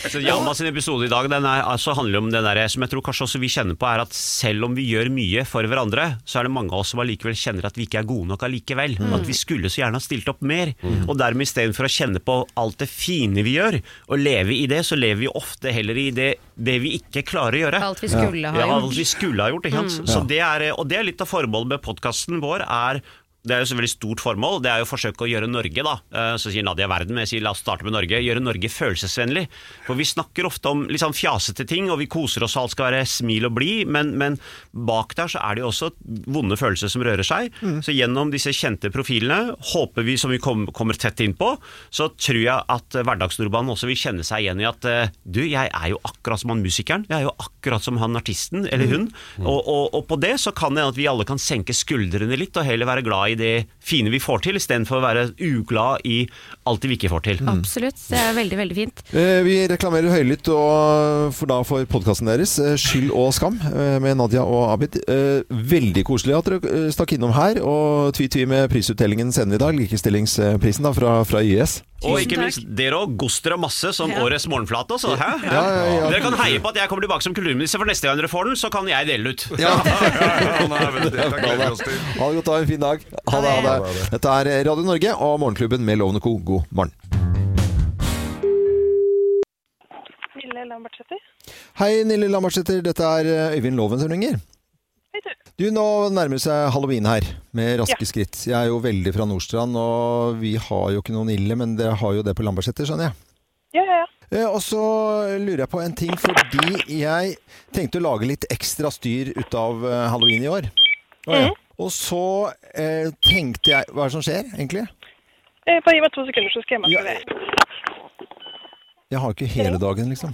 Speaker 6: Så Hjalmar sin episode i dag den er, altså handler om det der, som jeg tror kanskje også vi kjenner på, er at selv om vi gjør mye for hverandre, så er det mange av oss som allikevel kjenner at vi ikke er gode nok allikevel. At vi skulle så gjerne ha stilt opp mer. Og dermed istedenfor å kjenne på alt det fine vi gjør, og leve i det, så lever vi ofte heller i det, det vi ikke klarer å gjøre.
Speaker 2: Alt vi skulle ha
Speaker 6: Ja, alt
Speaker 3: altså.
Speaker 2: gjort. Mm.
Speaker 6: vi skulle ha gjort, ikke sant. Så det er, og det er litt av formålet med podkasten vår. er det er jo så veldig stort formål. Det er jo å forsøke å gjøre Norge, da. eh, Så sier Nadia verden, men jeg sier la oss starte med Norge. Gjøre Norge følelsesvennlig. For vi snakker ofte om litt sånn fjasete ting, og vi koser oss og alt skal være smil og blid, men, men bak der så er det jo også vonde følelser som rører seg.
Speaker 2: Mm.
Speaker 6: Så gjennom disse kjente profilene, håper vi, som vi kom, kommer tett inn på, så tror jeg at eh, hverdagsnordmannen også vil kjenne seg igjen i at eh, du, jeg er jo akkurat som han musikeren, jeg er jo akkurat som han artisten, eller hun.
Speaker 1: Mm.
Speaker 6: Og, og, og på det så kan det hende at vi alle kan senke skuldrene litt, og heller være glad i det fine vi får til, istedenfor å være uglad i alt det vi ikke får til.
Speaker 1: Mm.
Speaker 3: Mm.
Speaker 2: Absolutt. Det er veldig, veldig fint.
Speaker 1: Eh, Vi reklamerer høylytt og for da for podkasten deres, eh, 'Skyld og skam', eh, med Nadia og Abid. Eh, Veldig koselig at dere eh, stakk innom her. Og tvi-tvi med prisutdelingen senere i dag. Likestillingsprisen da fra, fra YS.
Speaker 6: Og
Speaker 5: Tusen
Speaker 6: ikke
Speaker 5: takk.
Speaker 6: minst dere òg. Goster og masse som
Speaker 5: Ja.
Speaker 6: årets morgenflate. Også, hæ?
Speaker 1: ja, ja.
Speaker 6: Dere kan heie på at jeg kommer tilbake som kulturminister, for neste gang dere får den, så kan jeg dele ut.
Speaker 3: Ja, nei, men det det gleder vi oss til.
Speaker 1: Ha det godt, ha en fin dag. Ha det, ha det. Dette er Radio Norge og Morgenklubben med Lovende Co. God morgen.
Speaker 7: Ville Lambertseter.
Speaker 1: Hei, Nille Lambertseter. Dette er eh, Øyvind Loven som ringer.
Speaker 7: Hei, du.
Speaker 1: Du, nå nærmer det seg halloween her, med raske skritt. Jeg er jo veldig fra Nordstrand, og vi har jo ikke noe Nille, men dere har jo det på Lambertseter, skjønner jeg.
Speaker 7: Ja, ja, ja.
Speaker 1: Eh, Og så lurer jeg på en ting, fordi jeg tenkte å lage litt ekstra styr ut av eh, halloween i år. Å, ja. Og så eh, tenkte jeg Hva er det som skjer, egentlig?
Speaker 7: Eh, Bare gi meg to sekunder, så skal jeg
Speaker 1: Ja.
Speaker 7: maske det.
Speaker 1: Jeg har jo ikke hele dagen, liksom.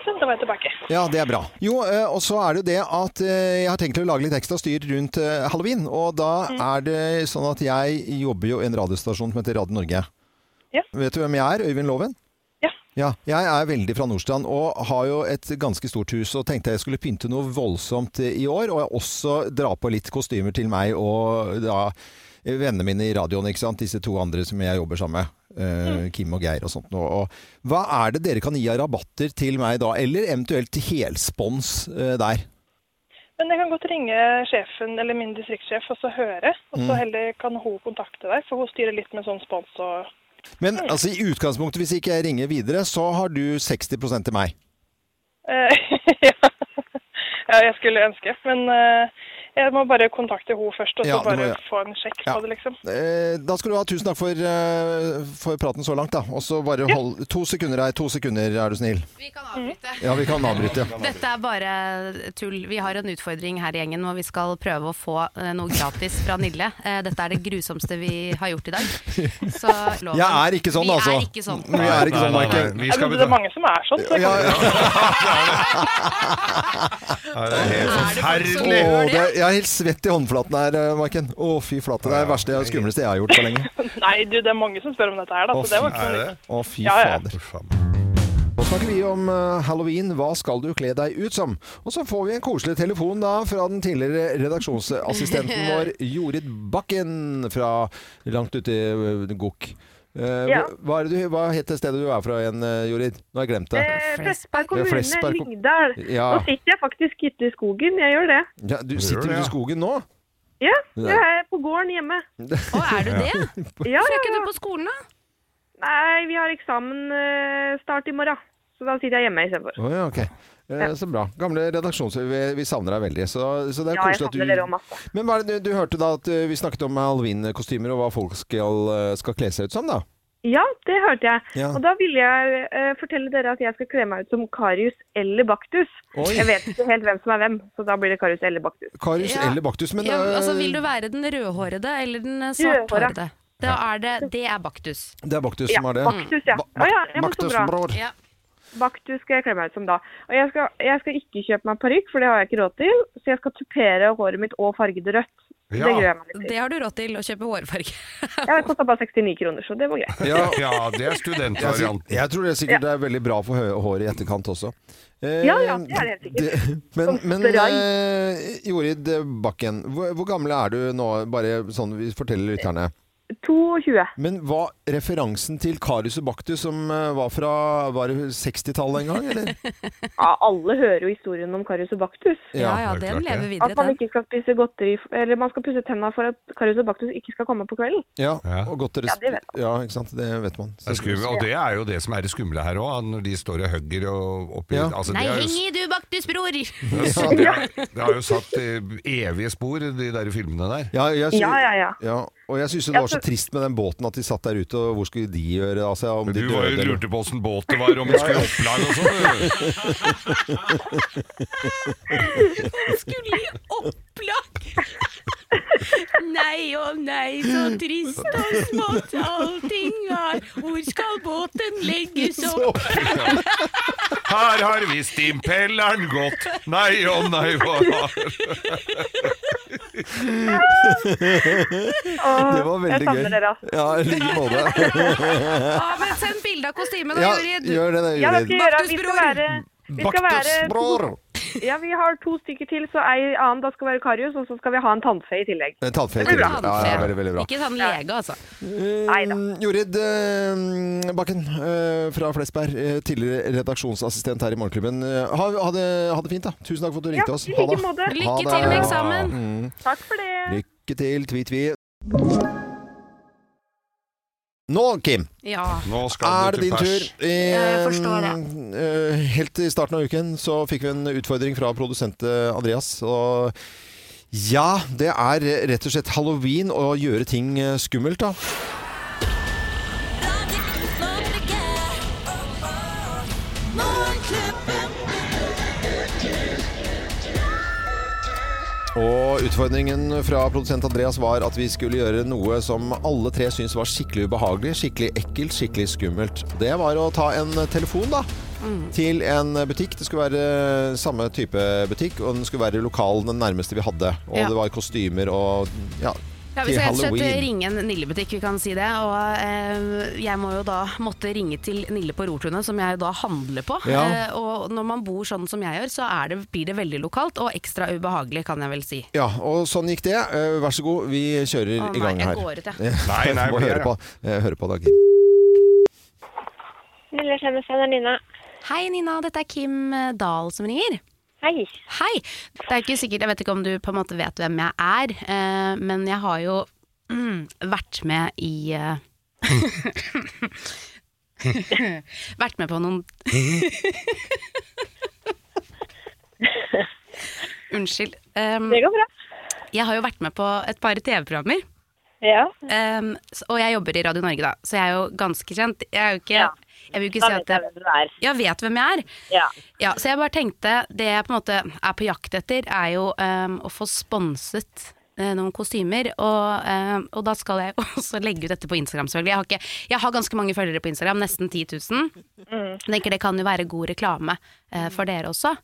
Speaker 7: Sånn, da var jeg tilbake.
Speaker 1: Ja, det er bra. Jo, eh, og så er det jo det at eh, jeg har tenkt å lage litt ekstra styr rundt eh, halloween. Og da er det sånn at jeg jobber jo i en radiostasjon som heter Radio Norge.
Speaker 7: Ja.
Speaker 1: Vet du hvem jeg er? Øyvind Loven?
Speaker 7: Ja.
Speaker 1: Ja, Jeg er veldig fra Nordstrand og har jo et ganske stort hus. Og tenkte jeg skulle pynte noe voldsomt i år, og jeg også dra på litt kostymer til meg og da vennene mine i radioen, ikke sant? disse to andre som jeg jobber sammen med. eh, Kim og Geir og sånt noe. Og hva er det dere kan gi av rabatter til meg da, eller eventuelt til helspons eh, der?
Speaker 7: Men jeg kan godt ringe sjefen eller min distriktssjef og så høre. Og
Speaker 1: Mm.
Speaker 7: så heller kan hun kontakte deg, for hun styrer litt med sånn spons og
Speaker 1: Men altså, i utgangspunktet, hvis ikke jeg ringer videre, så har du 60 til meg.
Speaker 7: eh, ja. ja, jeg skulle ønske. Men eh, jeg må bare kontakte hun først, og så
Speaker 1: Ja, du må
Speaker 7: bare
Speaker 1: gjøre.
Speaker 7: få en sjekk
Speaker 1: Ja.
Speaker 7: på det, liksom.
Speaker 1: Eh, Da skal du ha tusen takk for, eh, for praten så langt, da. Og så bare hold To sekunder her, to sekunder, er du snill.
Speaker 2: Vi kan avbryte.
Speaker 1: Ja, vi kan avbryte. ja.
Speaker 2: Dette er bare tull. Vi har en utfordring her i gjengen hvor vi skal prøve å få eh, noe gratis fra Nille. Eh, Dette er det grusomste vi har gjort i dag. Så loven.
Speaker 1: Jeg er ikke sånn,
Speaker 2: Vi
Speaker 1: altså.
Speaker 2: er ikke sånn.
Speaker 1: Vi er ikke sånn,
Speaker 3: Nei, nei,
Speaker 1: Michael.
Speaker 3: nei, vi
Speaker 7: Ja,
Speaker 3: skal
Speaker 7: men det er
Speaker 3: betale.
Speaker 7: mange som er sånn. Så jeg
Speaker 1: Ja,
Speaker 7: kan...
Speaker 1: ja.
Speaker 3: Nei, det er helt
Speaker 2: Er det folk som
Speaker 3: forferdelig.
Speaker 1: Åh, det, jeg er helt svett i håndflaten her, eh, Maiken. Å, fy flate. Det er det verste og skumleste jeg har gjort på lenge.
Speaker 7: Nei, du, det er mange som spør om dette her, da.
Speaker 1: Å,
Speaker 7: Så det var
Speaker 1: fy-
Speaker 7: ikke noe
Speaker 3: Er det?
Speaker 7: nytt.
Speaker 1: Å, fy
Speaker 7: Ja, ja.
Speaker 1: fader.
Speaker 3: Fy faen.
Speaker 1: Nå snakker vi om eh, halloween. Hva skal du kle deg ut som? Og så får vi en koselig telefon da fra den tidligere redaksjonsassistenten vår, Jorid Bakken, fra langt ute i eh, Gokk. Eh,
Speaker 8: Ja.
Speaker 1: hva- hva, er det du, hva heter stedet du er fra igjen, eh, Jorid? Nå har jeg glemt det.
Speaker 8: Eh, Flesberg
Speaker 1: Ja,
Speaker 8: kommune,
Speaker 1: Flesberg kom-
Speaker 8: Lyngdal.
Speaker 1: Ja.
Speaker 8: Nå sitter jeg faktisk ute i skogen, jeg gjør det.
Speaker 1: Ja, du
Speaker 3: Gjør
Speaker 1: sitter
Speaker 3: det,
Speaker 1: ute
Speaker 3: ja.
Speaker 1: i skogen nå?
Speaker 8: Ja,
Speaker 1: Det
Speaker 8: jeg
Speaker 1: er-
Speaker 8: er på gården hjemme.
Speaker 2: Å, er du det?
Speaker 8: Ja,
Speaker 2: Hvorfor er
Speaker 8: ja,
Speaker 2: ikke
Speaker 8: ja.
Speaker 2: du på skolen, da?
Speaker 8: Nei, vi har eksamen eh, start i morgen. Så da sitter jeg hjemme istedenfor.
Speaker 1: Å ja, ok. Eh, Så bra. Gamle redaksjons... Vi, vi savner deg veldig. Så, så det er
Speaker 8: Ja, jeg
Speaker 1: koselig at du
Speaker 8: savner dere også masse.
Speaker 1: Men hva er det du, du hørte da at eh, vi snakket om halloween-kostymer og hva folk skal, eh, skal kle seg ut som, da?
Speaker 8: Ja, det hørte jeg.
Speaker 1: Ja.
Speaker 8: Og da ville jeg eh, fortelle dere at jeg skal kle meg ut som Karius eller Baktus.
Speaker 1: Oi.
Speaker 8: Jeg vet ikke helt hvem som er hvem, så da blir det Karius eller Baktus.
Speaker 1: Karius
Speaker 2: Ja.
Speaker 1: eller Baktus? Men
Speaker 2: Ja,
Speaker 1: eh,
Speaker 2: altså, vil du være den rødhårede eller den eh, svarthårede? Da er det, det er baktus.
Speaker 1: det er Baktus
Speaker 8: Ja,
Speaker 1: som er det.
Speaker 8: Baktus, ja.
Speaker 1: Ba-
Speaker 8: Å ja, ja, men så
Speaker 1: Baktus,
Speaker 8: bra.
Speaker 1: bror.
Speaker 2: Ja.
Speaker 8: Baktus skal jeg kle meg ut som da. Og jeg skal, jeg skal ikke kjøpe meg parykk, for det har jeg ikke råd til. Så jeg skal tupere håret mitt og farge det rødt.
Speaker 3: Ja.
Speaker 8: Det gruer jeg meg litt til.
Speaker 2: Det har du råd til å kjøpe hårfarge.
Speaker 8: Ja, Det kosta bare 69 kroner, så det var greit.
Speaker 1: Ja,
Speaker 3: Ja, det er
Speaker 1: jeg, sier-
Speaker 3: studentvarianten.
Speaker 1: jeg tror det sikkert er veldig bra for hø- håret i etterkant også. Eh,
Speaker 8: Ja, ja, det er det helt sikkert.
Speaker 1: det- Men,
Speaker 8: Som
Speaker 1: men
Speaker 8: drei.
Speaker 1: eh, Jorid Bakken, hvor, hvor gammel er du nå? Bare sånn vi forteller lytterne.
Speaker 8: 22.
Speaker 1: Men hva referansen til Karius og Baktus som eh, var fra var det 60-tallet en gang, eller?
Speaker 8: Ja, alle hører jo historien om Karius og Baktus.
Speaker 2: Ja, ja,
Speaker 3: det
Speaker 2: den
Speaker 3: er klart
Speaker 2: lever
Speaker 3: det.
Speaker 2: videre,
Speaker 8: At man
Speaker 2: den.
Speaker 8: ikke skal spise godteri, eller man skal pusse tenna for at Karius og Baktus ikke skal komme på kvelden.
Speaker 1: Ja,
Speaker 3: Ja.
Speaker 1: og godt
Speaker 8: Ja, det vet
Speaker 1: Ja, ikke sant? Det vet man.
Speaker 3: Det er skummelt, og det er jo det som er det skumle her òg, når de står og hugger og oppi
Speaker 1: Ja.
Speaker 3: altså,
Speaker 2: Nei,
Speaker 3: det, er
Speaker 2: heng
Speaker 3: jo,
Speaker 2: i du, baktus, bror!
Speaker 3: det, er- det, er- det har jo satt eh, evige spor, de der filmene der.
Speaker 1: Ja, jeg sy-
Speaker 8: Ja, ja, ja.
Speaker 1: og jeg syns det
Speaker 8: Ja,
Speaker 1: var så
Speaker 8: for-
Speaker 1: trist med den båten at de satt der ute, og hvor skulle de gjøre av seg? Om de
Speaker 3: Du var
Speaker 1: døde
Speaker 3: jo
Speaker 1: eller-
Speaker 3: lurte på åssen båt det var, om det skulle i opplag og sånn.
Speaker 2: Skulle i opplag! Nei og nei, så trist og smått allting er. Hvor skal båten legges opp?
Speaker 3: Her har visst impelleren gått. Nei og nei, hva var
Speaker 8: Åh,
Speaker 1: Det var veldig
Speaker 8: jeg
Speaker 1: gøy.
Speaker 8: savner dere, altså.
Speaker 1: Ja, i like måte.
Speaker 2: Ja, men send bilde av kostymet, da,
Speaker 1: Ja,
Speaker 2: Jorid.
Speaker 1: gjør det, da,
Speaker 8: Ja, hva
Speaker 1: Jorid.
Speaker 8: skal jeg gjøre? Vi skal være
Speaker 2: Baktusbror.
Speaker 8: vi skal være
Speaker 2: eh,
Speaker 1: Baktusbror!
Speaker 8: Ja, vi har to stykker til, så ei annen da skal være Karius, og så skal vi ha en tannfe i tillegg.
Speaker 1: Eh, Tannfe.
Speaker 2: Det blir
Speaker 1: Ja,
Speaker 2: bra.
Speaker 1: ja, veldig, veldig bra.
Speaker 2: Ikke sånn lege, altså.
Speaker 1: Eh, Jorid eh, Bakken eh, fra Flesberg, eh, tidligere redaksjonassistent her i Morgenklubben. Eh, ha, ha, det, ha det fint, da. Tusen takk for at du
Speaker 8: Ja,
Speaker 1: ringte oss.
Speaker 8: i
Speaker 1: Ha
Speaker 8: like
Speaker 1: det.
Speaker 8: måte.
Speaker 1: Ha
Speaker 2: Lykke
Speaker 1: det. Mm,
Speaker 2: til med eksamen.
Speaker 8: Takk for det.
Speaker 1: Lykke til, tvi-tvi. Nå, Kim,
Speaker 2: Ja.
Speaker 3: Nå skal
Speaker 1: er
Speaker 3: du
Speaker 1: det din
Speaker 3: til
Speaker 1: tur.
Speaker 3: pers.
Speaker 1: Eh,
Speaker 2: Ja, jeg forstår
Speaker 1: eh, Helt i starten av uken så fikk vi en utfordring fra produsent eh, Andreas. Og ja, det er rett og slett halloween å gjøre ting eh, skummelt, da. Og utfordringen fra produsent Andreas var at vi skulle gjøre noe som alle tre syntes var skikkelig ubehagelig, skikkelig ekkelt, skikkelig skummelt. Det var å ta en telefon, da.
Speaker 2: Mm.
Speaker 1: Til en butikk. Det skulle være samme type butikk, og den skulle være lokal, den nærmeste vi hadde. Og
Speaker 2: Ja.
Speaker 1: det var kostymer og ja,
Speaker 2: Ja, Vi
Speaker 1: til
Speaker 2: skal rett og slett
Speaker 1: halloween.
Speaker 2: ringe en Nille-butikk, vi kan si det. Og eh, jeg må jo da måtte ringe til Nille på Rortunet, som jeg da handler på.
Speaker 1: Ja.
Speaker 2: Eh, og når man bor sånn som jeg gjør, så er det, blir det veldig lokalt, og ekstra ubehagelig, kan jeg vel si.
Speaker 1: Ja, og sånn gikk det. Eh, Vær så god, vi kjører
Speaker 2: Å
Speaker 1: i
Speaker 2: nei,
Speaker 1: gang
Speaker 2: jeg
Speaker 1: her.
Speaker 2: går ut, jeg.
Speaker 3: Nei,
Speaker 1: Jeg
Speaker 3: nei,
Speaker 1: må
Speaker 3: vi er
Speaker 1: høre
Speaker 3: her.
Speaker 1: på, eh, høre på Dag. Kim.
Speaker 9: Lille kjendisen er Nina.
Speaker 2: Hei Nina, dette er Kim eh, Dahl som ringer.
Speaker 9: Hei.
Speaker 2: Hei! Det er ikke sikkert, jeg vet ikke om du på en måte vet hvem jeg er, eh, men jeg har jo mm, vært med i eh, Vært med på noen Unnskyld. Um,
Speaker 9: Det går bra.
Speaker 2: jeg har jo vært med på et par TV-programmer.
Speaker 9: Ja.
Speaker 2: Um, s- og jeg jobber i Radio Norge, da, så jeg er jo ganske kjent. Jeg er jo ikke
Speaker 9: Ja.
Speaker 2: Jeg vil jo
Speaker 9: Da
Speaker 2: ikke si
Speaker 9: vet
Speaker 2: at
Speaker 9: jeg
Speaker 2: jeg,
Speaker 9: hvem du er.
Speaker 2: jeg vet hvem jeg er.
Speaker 9: Ja.
Speaker 2: Ja, så jeg bare tenkte Det jeg på en måte er på jakt etter Er jo ehm, å få sponset eh, noen kostymer og, ehm, og da skal jeg også legge ut dette på Instagram selvfølgelig jeg har, ikke, jeg har ganske mange følgere på Instagram Nesten 10 000
Speaker 9: Mm.
Speaker 2: Jeg tenker det kan jo være god reklame eh, for dere også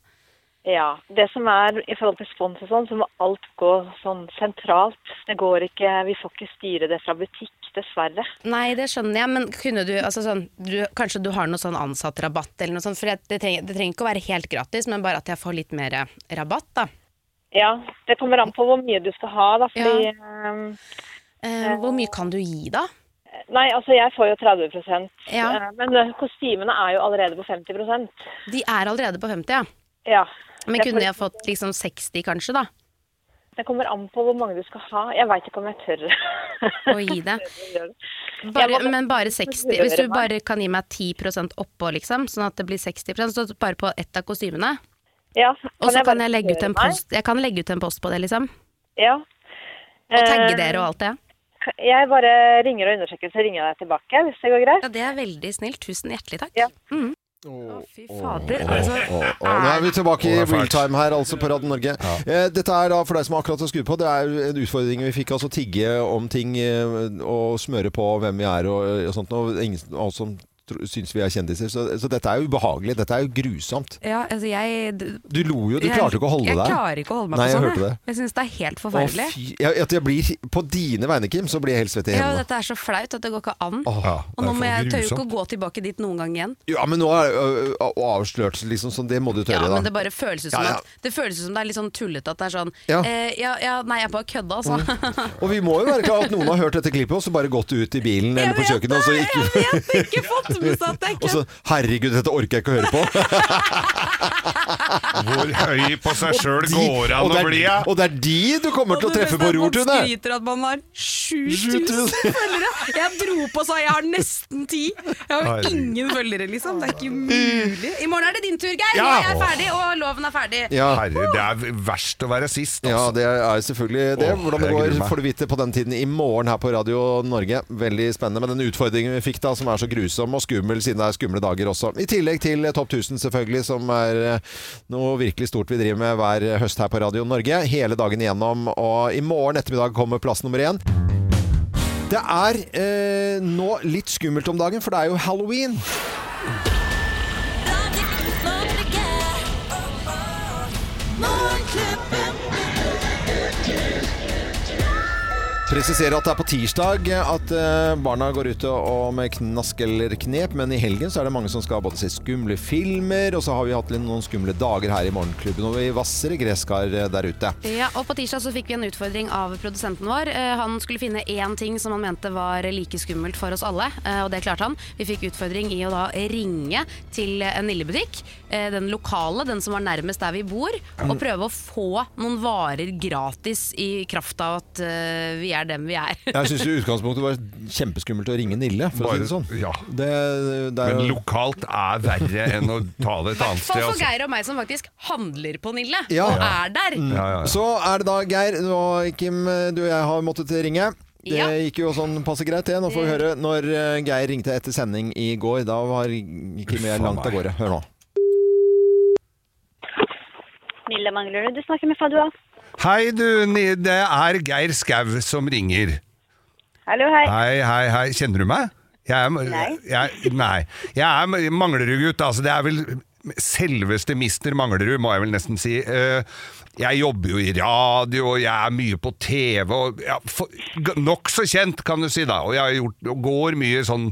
Speaker 9: ja. Det som er i forhold til spons og sånn, så må alt gå sånn sentralt. Det går ikke Vi får ikke styre det fra butikk, dessverre.
Speaker 2: Nei, det skjønner jeg Men kunne du, altså sånn du, Kanskje du har noe sånn ansatt rabatt eller noe sånt For det, det, trenger, det trenger ikke å være helt gratis Men bare at jeg får litt mer eh, rabatt da
Speaker 9: Ja. Det kommer an på hvor mye du skal ha, da. Fordi
Speaker 2: Ja.
Speaker 9: ehm,
Speaker 2: Eh, Hvor mye kan du gi da?
Speaker 9: Nei, altså jeg får jo 30
Speaker 2: Ja.
Speaker 9: eh, Men eh, kostymene er jo allerede på 50
Speaker 2: De er allerede på 50, ja
Speaker 9: Ja.
Speaker 2: Men kunne jeg fått liksom 60 kanskje da?
Speaker 9: Det kommer an på hvor mange du skal ha. Jeg veit ikke om jeg tør.
Speaker 2: Å gi det. Bare, men bare 60 Hvis du bare kan gi meg 10 oppå, liksom, sånn at det blir 60 så bare på ett av kostymene.
Speaker 9: Ja,
Speaker 2: Og så kan
Speaker 9: bare
Speaker 2: jeg legge ut
Speaker 9: høre
Speaker 2: en
Speaker 9: meg?
Speaker 2: post Jeg kan legge ut en post på det, liksom.
Speaker 9: Ja. Eh,
Speaker 2: Og tagge dere og alt det.
Speaker 9: Jeg bare ringer og undersøker, så ringer jeg deg tilbake hvis det går greit.
Speaker 2: Ja, det er veldig snilt. Tusen hjertelig takk.
Speaker 9: Ja.
Speaker 2: Mm.
Speaker 1: Åh,
Speaker 2: Å, fy fader.
Speaker 1: Åh,
Speaker 2: Altså,
Speaker 1: åh, åh. Nå er vi tilbake i
Speaker 3: Åh, det er fælt.
Speaker 1: real time her, altså på Radio Norge. Eh, Dette er da, for deg som akkurat har skrudd på, det er en utfordring vi fikk. Altså tigge om ting eh, og smøre på hvem vi er og, og sånt. Og ingen av oss som tro- syns vi er kjendiser. Så, så dette er jo ubehagelig. Dette er jo grusomt.
Speaker 10: Ja, altså jeg d-
Speaker 1: Du lo jo, du
Speaker 10: jeg-
Speaker 1: klarte jo ikke å holde
Speaker 10: Jeg
Speaker 1: deg.
Speaker 10: klarer ikke å holde meg
Speaker 1: Nei,
Speaker 10: på
Speaker 1: jeg
Speaker 10: sånn.
Speaker 1: hørte det.
Speaker 10: Jeg syns det er helt
Speaker 1: Å,
Speaker 10: forferdelig.
Speaker 1: fy, jeg, at jeg blir, på dine vegne, Kim, så blir jeg helt svett i
Speaker 2: ja,
Speaker 1: hendene.
Speaker 2: dette er så flaut at det går ikke an.
Speaker 1: Åh.
Speaker 3: Ja,
Speaker 2: Og nå
Speaker 3: det er
Speaker 2: må
Speaker 3: for
Speaker 2: jeg tør jo ikke å
Speaker 3: grusomt.
Speaker 2: gå tilbake dit noen gang igjen.
Speaker 1: Ja, men nå er det ø, ø, å avslørt, liksom, så det må du
Speaker 2: Ja,
Speaker 1: tørre,
Speaker 2: men
Speaker 1: da.
Speaker 2: det bare føles ut som
Speaker 1: Ja, ja.
Speaker 2: at Det føles ut som det er litt sånn tullete at det er sånn
Speaker 1: Ja.
Speaker 2: Eh, ja, ja, nei, jeg bare kødda, altså.
Speaker 1: Og vi må jo være klar at noen har hørt dette klippet, og så bare gått ut i bilen eller på kjøkkenet, og så ikke
Speaker 2: Jeg har ikke fått med seg at det er
Speaker 1: Og så, herregud, dette orker jeg ikke å høre på.
Speaker 3: Hvor høy på seg sjøl
Speaker 1: De-
Speaker 3: går
Speaker 1: og det
Speaker 3: an å
Speaker 1: er-
Speaker 3: bli? ja?
Speaker 1: Og det er de du sånn kommer til å treffe på Rortunet!
Speaker 10: skryter at man har 7000
Speaker 1: 7000
Speaker 10: følgere. Jeg dro på sa jeg har nesten ti. Jeg har ingen følgere, liksom. Det er ikke mulig.
Speaker 2: I morgen er det din tur, Geir!
Speaker 1: Ja.
Speaker 2: Jeg er ferdig, og loven er ferdig.
Speaker 1: Ja,
Speaker 3: Herre, det er verst å være sist,
Speaker 1: ja,
Speaker 3: altså.
Speaker 1: det er selvfølgelig det.
Speaker 3: Åh,
Speaker 1: Hvordan det
Speaker 3: jeg gruer
Speaker 1: går,
Speaker 3: meg.
Speaker 1: får du vite på den tiden i morgen her på Radio Norge. Veldig spennende med den utfordringen vi fikk da, som er så grusom og skummel, siden det er skumle dager også. I tillegg til Topp 1000, selvfølgelig, som er eh, noe virkelig stort vi driver med hver høst her på Radio Norge. Hele dagen igjennom. Og i morgen ettermiddag kommer plass nummer én. Det er eh, nå litt skummelt om dagen, for det er jo halloween. Presisere at det er på tirsdag at eh, barna går ut og og med knask eller knep, men i helgen så er det mange som skal både se skumle filmer, og så har vi hatt litt noen skumle dager her i Morgenklubben, og vi vasser i gresskar eh, der ute.
Speaker 2: Ja, og På tirsdag så fikk vi en utfordring av produsenten vår. Eh, Han skulle finne én ting som han mente var like skummelt for oss alle, eh, og det klarte han. Vi fikk utfordring i å da ringe til en Nille-butikk, eh, den lokale, den som var nærmest der vi bor, og prøve å få noen varer gratis i kraft av at eh, vi er dem vi er.
Speaker 1: Jeg syns i utgangspunktet var kjempeskummelt å ringe Nille, for å si det sånn.
Speaker 3: Bare- ja.
Speaker 1: Det, det er,
Speaker 3: Men lokalt er verre enn å ta det et
Speaker 2: For,
Speaker 3: annet sted.
Speaker 2: for
Speaker 3: Altså.
Speaker 2: Geir og meg som faktisk handler på Nille,
Speaker 1: Ja.
Speaker 2: og er der.
Speaker 3: Ja, ja, ja.
Speaker 1: Så er det da, Geir og Kim, du og jeg har måttet ringe. Det
Speaker 2: Ja.
Speaker 1: gikk jo sånn passe greit, det. Nå får vi høre når eh, Geir ringte etter sending i går. Da var Kim og jeg
Speaker 3: Uffa
Speaker 1: langt av
Speaker 3: meg.
Speaker 1: gårde. Hør nå.
Speaker 9: Nille Manglerud, du snakker med Fadua.
Speaker 3: Hei, du. Ni- Det er Geir Skau som ringer.
Speaker 9: Hallo, hei.
Speaker 3: Hei, hei, hei. Kjenner du meg? Jeg er,
Speaker 9: Nei.
Speaker 3: Jeg, nei. Jeg er Manglerud-gutt. Altså, det er vel selveste mister Manglerud, må jeg vel nesten si. Eh, Jeg jobber jo i radio, og jeg er mye på TV. og ja, for- g- Nokså kjent, kan du si, da. Og jeg har gjort, og går mye sånn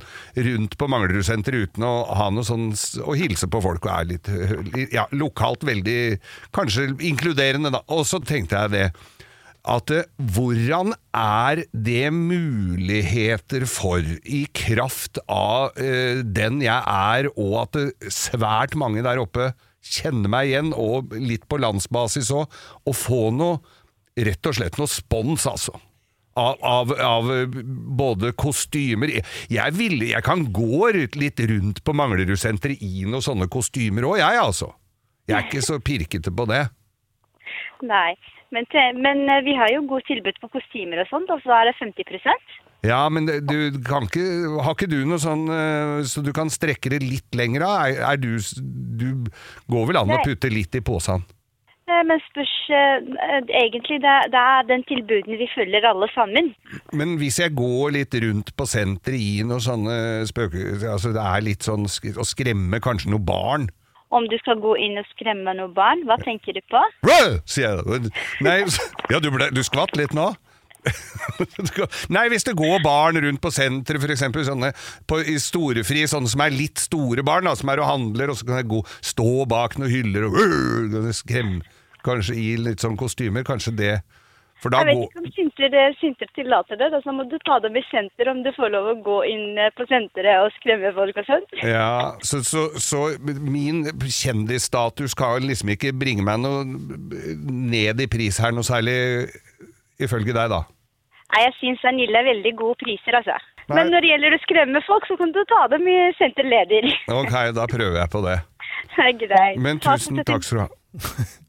Speaker 3: rundt på Manglerud-senteret uten å ha noe sånn s- Å hilse på folk og er litt eh, ja, lokalt veldig Kanskje inkluderende, da. Og så tenkte jeg det at eh, hvordan er det muligheter for, i kraft av eh, den jeg er, og at eh, svært mange der oppe kjenner meg igjen, og litt på landsbasis òg, å få noe, rett og slett noe spons, altså. Av, av, av eh, både kostymer jeg, vil, jeg kan gå litt rundt på Manglerudsenteret i noen sånne kostymer òg, jeg, altså. Jeg er ikke så pirkete på det.
Speaker 9: Nei, men, te- men eh, vi har jo godt tilbud på kostymer og sånt, og så er det 50
Speaker 3: Ja, men det- du kan ikke Har ikke du noe sånn eh, så du kan strekke det litt lenger av? Er, er du s- Du går vel an å
Speaker 9: Nei.
Speaker 3: putte litt i posen?
Speaker 9: Eh, Men spørs eh, eh, egentlig, det, er- det er den tilbuden vi følger alle sammen.
Speaker 3: Men hvis jeg går litt rundt på senteret i noen sånne spøke... Altså det er litt sånn sk Å skremme kanskje noe barn?
Speaker 9: Om du skal gå inn og skremme noen barn, hva tenker du på?
Speaker 3: Rød! sier jeg da. Nei, s- ja, du, ble, du skvatt litt nå? Nei, hvis det går barn rundt på senteret, for eksempel sånne på, i storefri, sånne som er litt store barn, da, som er og handler, og så kan jeg gå, stå bak noen hyller og øh, kan jeg skremme, kanskje i litt sånn kostymer, kanskje det For da
Speaker 9: jeg vet
Speaker 3: går
Speaker 9: ikke om synter, eh, synter tillater det. Da så må du ta det med kjenter om du får lov å gå inn eh, på senteret og skremme folk og sånt.
Speaker 3: Ja, så, så, så min kjendisstatus kan liksom ikke bringe meg noe ned i pris her noe særlig, ifølge deg, da.
Speaker 9: Nei, jeg syns Anille er veldig gode priser, altså.
Speaker 3: Nei.
Speaker 9: Men når det gjelder å skremme folk, så kan du ta dem i senterleder.
Speaker 3: Ok, da prøver jeg på det.
Speaker 9: Det er greit.
Speaker 3: Men tusen takk skal du ha.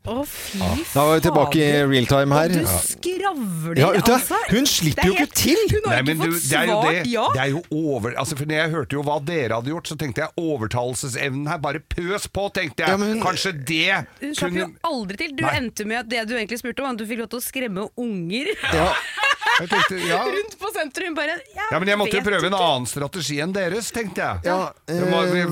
Speaker 10: Å, fy faen.
Speaker 1: Da var vi tilbake i real time her.
Speaker 10: Du skravler,
Speaker 1: Ja, vet du,
Speaker 10: altså.
Speaker 1: hun
Speaker 10: Det
Speaker 1: slipper
Speaker 10: er
Speaker 1: jo ikke til.
Speaker 10: Hun har ikke fått
Speaker 3: det er jo
Speaker 10: svart
Speaker 3: det.
Speaker 10: ja.
Speaker 3: Det er jo over... Altså, for når jeg hørte jo hva dere hadde gjort, så tenkte jeg overtalelsesevnen her, bare pøs på, tenkte jeg.
Speaker 1: Ja, men hun-
Speaker 3: Kanskje det
Speaker 10: Hun slapp jo
Speaker 3: kunne
Speaker 10: aldri til. Du
Speaker 3: Nei.
Speaker 10: endte med at det du egentlig spurte om, var at du fikk lov til å skremme unger
Speaker 1: Ja.
Speaker 3: jeg tenkte, ja.
Speaker 10: rundt på senteret. Hun bare
Speaker 3: ja, men jeg måtte jo
Speaker 10: vet
Speaker 3: prøve en annen strategi enn deres, tenkte jeg.
Speaker 1: Ja,
Speaker 3: det må bli
Speaker 1: eh,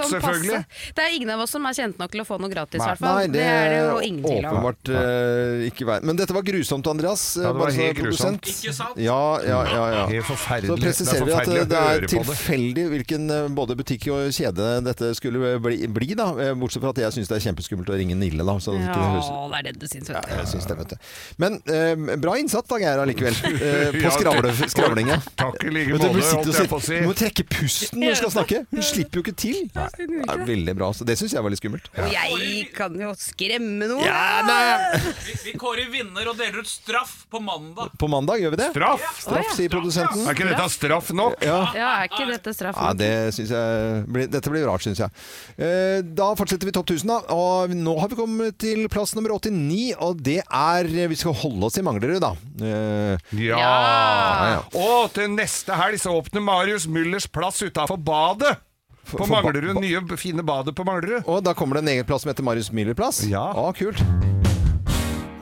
Speaker 10: Virker som
Speaker 3: selvfølgelig.
Speaker 10: passe. Det er ingen av oss som er kjent nok til å få noe gratis, i
Speaker 3: Nei.
Speaker 10: hvert fall. Det er det jo ingen tvil om.
Speaker 1: åpenbart eh, ikke veien. Men dette var grusomt, Andreas. eh,
Speaker 3: Ja, det var
Speaker 1: bare så
Speaker 3: helt grusomt.
Speaker 1: produsent. Ja, ja, ja, ja.
Speaker 3: Helt forferdelig.
Speaker 1: Så presiserer vi
Speaker 3: Det er
Speaker 1: at eh, det
Speaker 3: forferdelig å
Speaker 1: er
Speaker 3: høre på det.
Speaker 1: tilfeldig hvilken eh, både butikk og kjede dette skulle bli, bli da. Eh, Bortsett fra at jeg syns det er kjempeskummelt å ringe Nille, da. Så det ikke høres
Speaker 10: Ja, det er det du syns, vet du.
Speaker 1: jeg syns det, vet du. Men eh, bra innsatt da, Geir, allikevel. Eh,
Speaker 3: Ja,
Speaker 1: på skravle, skravlinga.
Speaker 3: Takk i like
Speaker 1: Vet du,
Speaker 3: måte,
Speaker 1: hun sitter og
Speaker 3: holdt jeg på å
Speaker 1: sitter-
Speaker 3: si.
Speaker 1: hun må trekke pusten når hun skal snakke. Hun slipper jo ikke til. Det er veldig bra. Så det syns jeg var litt skummelt.
Speaker 10: Og jeg kan jo skremme noen.
Speaker 1: Ja, nei.
Speaker 11: Vi, vi kårer vinner og deler ut straff på mandag.
Speaker 1: På mandag gjør vi det.
Speaker 3: Straff!
Speaker 1: Straff, sier produsenten.
Speaker 3: Er ikke dette straff nok?
Speaker 10: Ja, er ikke dette straff?
Speaker 1: Ja, det synes jeg blir, Dette blir rart, syns jeg. Eh, Da fortsetter vi Topp 1000, da. Og nå har vi kommet til plass nummer 89, og det er eh, Vi skal holde oss i Manglerud, da. Eh,
Speaker 3: Ja!
Speaker 1: ja.
Speaker 3: Og til neste helg så åpner Marius Müllers plass utafor badet. På
Speaker 1: for ba-
Speaker 3: Manglerud.
Speaker 1: ba-
Speaker 3: Nye, fine badet på Manglerud.
Speaker 1: Og da kommer det en egen plass som heter Marius Müller-plass.
Speaker 3: Ja.
Speaker 1: Å, kult.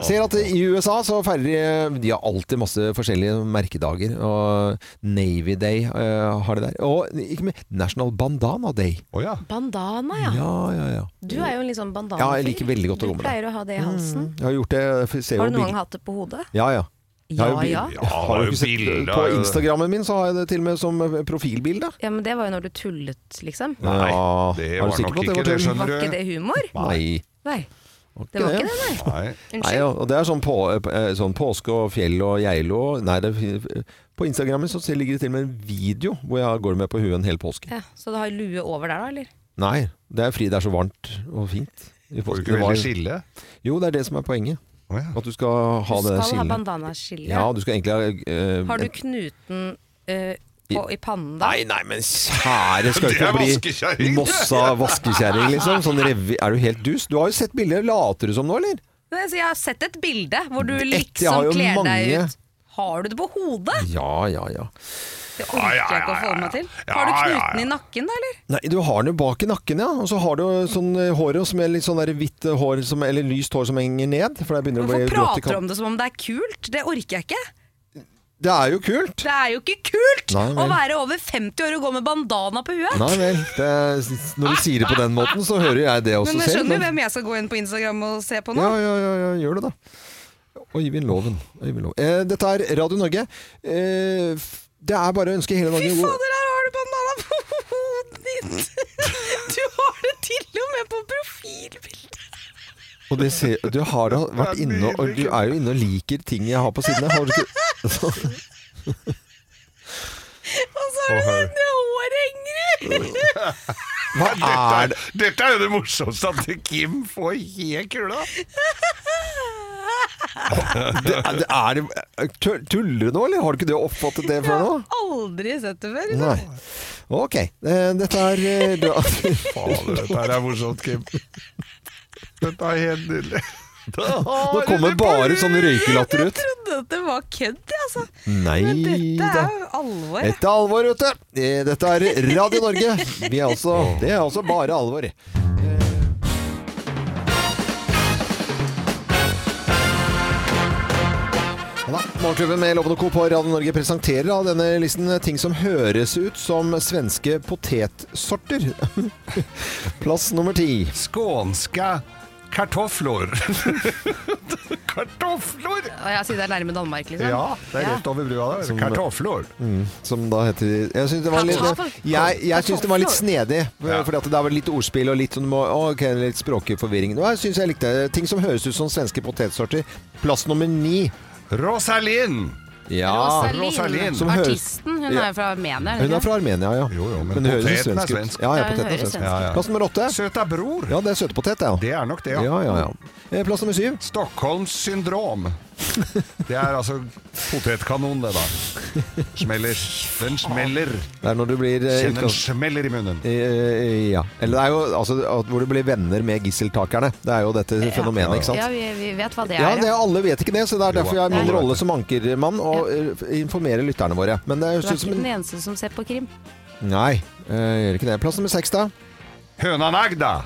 Speaker 1: Ser at i USA så feirer de De har alltid masse forskjellige merkedager. Og Navy Day eh, har de der. Og ikke med National Bandana Day.
Speaker 3: Å ja.
Speaker 2: Bandana, ja.
Speaker 1: Ja, ja, ja.
Speaker 2: Du er jo en litt sånn bandanafyr.
Speaker 1: Ja, jeg liker veldig godt å gå med
Speaker 2: Du
Speaker 1: det.
Speaker 2: pleier å ha det i halsen.
Speaker 1: Jeg har gjort det. for jeg Ser
Speaker 2: Har
Speaker 1: jo
Speaker 2: du noen
Speaker 1: bilder-
Speaker 2: gang hatt det på hodet?
Speaker 1: Ja, ja. Jeg har jo
Speaker 2: Ja,
Speaker 1: bil-
Speaker 2: ja.
Speaker 1: Jeg
Speaker 3: Ja,
Speaker 1: Har
Speaker 3: det er
Speaker 1: jo
Speaker 3: jo
Speaker 1: ikke sett,
Speaker 3: bilder,
Speaker 1: på
Speaker 3: ja, ja.
Speaker 1: Instagrammen min så har jeg det til og med som profilbilde.
Speaker 2: Ja, men det var jo når du tullet, liksom.
Speaker 3: Nei,
Speaker 1: Ja,
Speaker 3: det
Speaker 1: er du
Speaker 3: var
Speaker 1: sikker
Speaker 3: nok
Speaker 1: på at
Speaker 3: ikke
Speaker 1: var
Speaker 3: det,
Speaker 1: tull?
Speaker 3: skjønner
Speaker 2: Var ikke
Speaker 3: du.
Speaker 2: det humor?
Speaker 1: Nei.
Speaker 2: Nei. Det var ikke det, nei.
Speaker 3: Nei.
Speaker 1: Nei,
Speaker 2: Unnskyld.
Speaker 1: og det er sånn, på, eh, sånn påske og fjell og geilo Nei, det, på Instagrammen så ligger det til og med en video hvor jeg går med på huet en hel påske.
Speaker 2: Ja, så du har lue over der, da, eller?
Speaker 1: Nei, det er fordi det er så varmt og fint. i
Speaker 3: Får
Speaker 1: påsken.
Speaker 3: du ikke
Speaker 1: Det var-
Speaker 3: veldig skille?
Speaker 1: Jo, det er det som er poenget.
Speaker 3: Å ja.
Speaker 1: At du skal ha
Speaker 2: Du skal
Speaker 1: det
Speaker 2: ha
Speaker 1: skillet.
Speaker 2: bandanaskille.
Speaker 1: Ja, du skal egentlig ha eh,
Speaker 2: Har du knuten eh, på, i pannen da?
Speaker 1: Nei, nei, men kjære skal
Speaker 3: Det
Speaker 1: ikke
Speaker 3: er
Speaker 1: bli
Speaker 3: vaskekjerring.
Speaker 1: Mossa vaskekjerring, liksom. Sånn revi, er du helt dus? Du har jo sett bilder. Later du som nå, eller?
Speaker 2: Nei, så jeg har sett et bilde hvor du
Speaker 1: Ett, jeg har
Speaker 2: liksom
Speaker 1: jo
Speaker 2: kler
Speaker 1: mange.
Speaker 2: deg ut. Har du det på hodet?
Speaker 1: Ja, ja, ja.
Speaker 2: Det orker jeg ikke å forholde meg til. Har du
Speaker 3: Ja, ja,
Speaker 2: knuten
Speaker 3: ja.
Speaker 2: i nakken da, eller?
Speaker 1: Nei, du har den jo bak i nakken, ja. Og så har du sånn eh, håret som er litt sånn der hvitt eh, hår som, eller lyst hår som henger ned. For det begynner å bli
Speaker 2: Hvorfor
Speaker 1: grått i
Speaker 2: prater du
Speaker 1: kanten.
Speaker 2: om det som om det er kult? Det orker jeg ikke.
Speaker 1: Det er jo kult!
Speaker 2: Det er jo ikke kult
Speaker 1: Nei,
Speaker 2: å
Speaker 1: vel.
Speaker 2: være over 50 år og gå med bandana på huet.
Speaker 1: Nei vel. Det, når du sier det på den måten, så hører jeg det
Speaker 2: Men
Speaker 1: også
Speaker 2: jeg
Speaker 1: altså, selv.
Speaker 2: skjønner jo hvem jeg skal gå inn på Instagram og se på nå.
Speaker 1: Ja, ja, ja, ja, gjør det da. Øyvind Loven. Øyvind Loven. Eh, dette er Radio Norge. Eh, f- det er bare å ønske hele Norge
Speaker 2: Fy
Speaker 1: en god
Speaker 2: fader, her har du bandana på hodet ditt! Du har det til og med på profilbildet!
Speaker 1: Og det ser, du har da vært inne og Du er jo inne og liker ting jeg har på siden. her, Har du ikke
Speaker 2: Og så er det det håret henger i!
Speaker 1: Hva er det?
Speaker 3: Dette, dette er jo det morsomste at Kim får helt kula.
Speaker 1: det, er- det, er, det- eh, tull- tuller du nå, eller har du ikke det oppfattet det
Speaker 2: Jeg
Speaker 1: før nå?
Speaker 2: har aldri sett det før.
Speaker 1: Nei. Ok. Eh, Dette er eh, bra.
Speaker 3: Fader, dette her er morsomt, Kim. Dette er helt nydelig.
Speaker 1: Nå kommer bare sånn sånne røykelatter
Speaker 2: Jeg
Speaker 1: ut.
Speaker 2: trodde at det var kødd, jeg, altså.
Speaker 1: Nei
Speaker 2: Men dette
Speaker 1: da.
Speaker 2: er jo alvor.
Speaker 1: Dette er alvor, vet du. Eh, Dette er Radio Norge. Vi er altså, det er altså bare alvor. Ja da. Morgenklubben med Loven og Co. på Radio Norge presenterer av denne listen ting som høres ut som svenske potetsorter. Plass nummer ti.
Speaker 3: Skånske kartofler. kartofler!
Speaker 2: Og jeg sier det er nærme Danmark, liksom.
Speaker 3: Ja, det er rett over brua der. Kartofler.
Speaker 1: Som da heter Jeg syns det var litt,
Speaker 2: Kartoffel.
Speaker 1: jeg, jeg synes det var litt
Speaker 2: Kartoffel.
Speaker 1: snedig.
Speaker 3: Ja.
Speaker 1: Fordi at det var litt ordspill og litt, sånn, må- ok, litt språklig forvirring. Det var- synes jeg likte det. Ting som høres ut som svenske potetsorter. Plass nummer ni.
Speaker 3: Rosalyn!
Speaker 2: Rosalyn,
Speaker 3: Rosalyn.
Speaker 1: Som høres-
Speaker 2: Artisten. Hun
Speaker 1: Ja.
Speaker 2: er jo fra Armenia. er hun
Speaker 1: Hun er
Speaker 2: ikke?
Speaker 1: fra Armenia, ja.
Speaker 3: men
Speaker 1: det høres
Speaker 3: poteten er
Speaker 1: svensk
Speaker 3: svensk.
Speaker 1: ut. Ja, ja,
Speaker 2: Ja, hun
Speaker 1: poteten
Speaker 2: høres
Speaker 1: er svensk.
Speaker 2: svensk ut. Ja, ja.
Speaker 1: Plass nummer åtte.
Speaker 3: Søta bror.
Speaker 1: Ja, det er søtepotet, ja.
Speaker 3: Det er nok det, ja.
Speaker 1: Ja, ja, ja. Eh, Plass nummer syv.
Speaker 3: Stockholms syndrom. Det er altså potetkanon, det, da. Smeller. Den smeller.
Speaker 1: Det er når du blir eh,
Speaker 3: Kjenn en
Speaker 1: utgangs-
Speaker 3: smeller i munnen.
Speaker 1: Eh, Ja. Eller det er jo altså, at hvor du blir venner med gisseltakerne. Det er jo dette fenomenet, ikke sant?
Speaker 2: Ja, vi, vi vet hva det er.
Speaker 1: Ja, det, alle vet ikke det, så det er derfor jeg har min
Speaker 2: Nei.
Speaker 1: rolle som ankermann å eh, informere lytterne våre. Men det
Speaker 2: Du er
Speaker 1: høres ut
Speaker 2: ikke
Speaker 1: som
Speaker 2: den
Speaker 1: en
Speaker 2: eneste som ser på krim.
Speaker 1: Nei, eh, gjør ikke det. Plass nummer seks, da.
Speaker 3: Høna Nagda!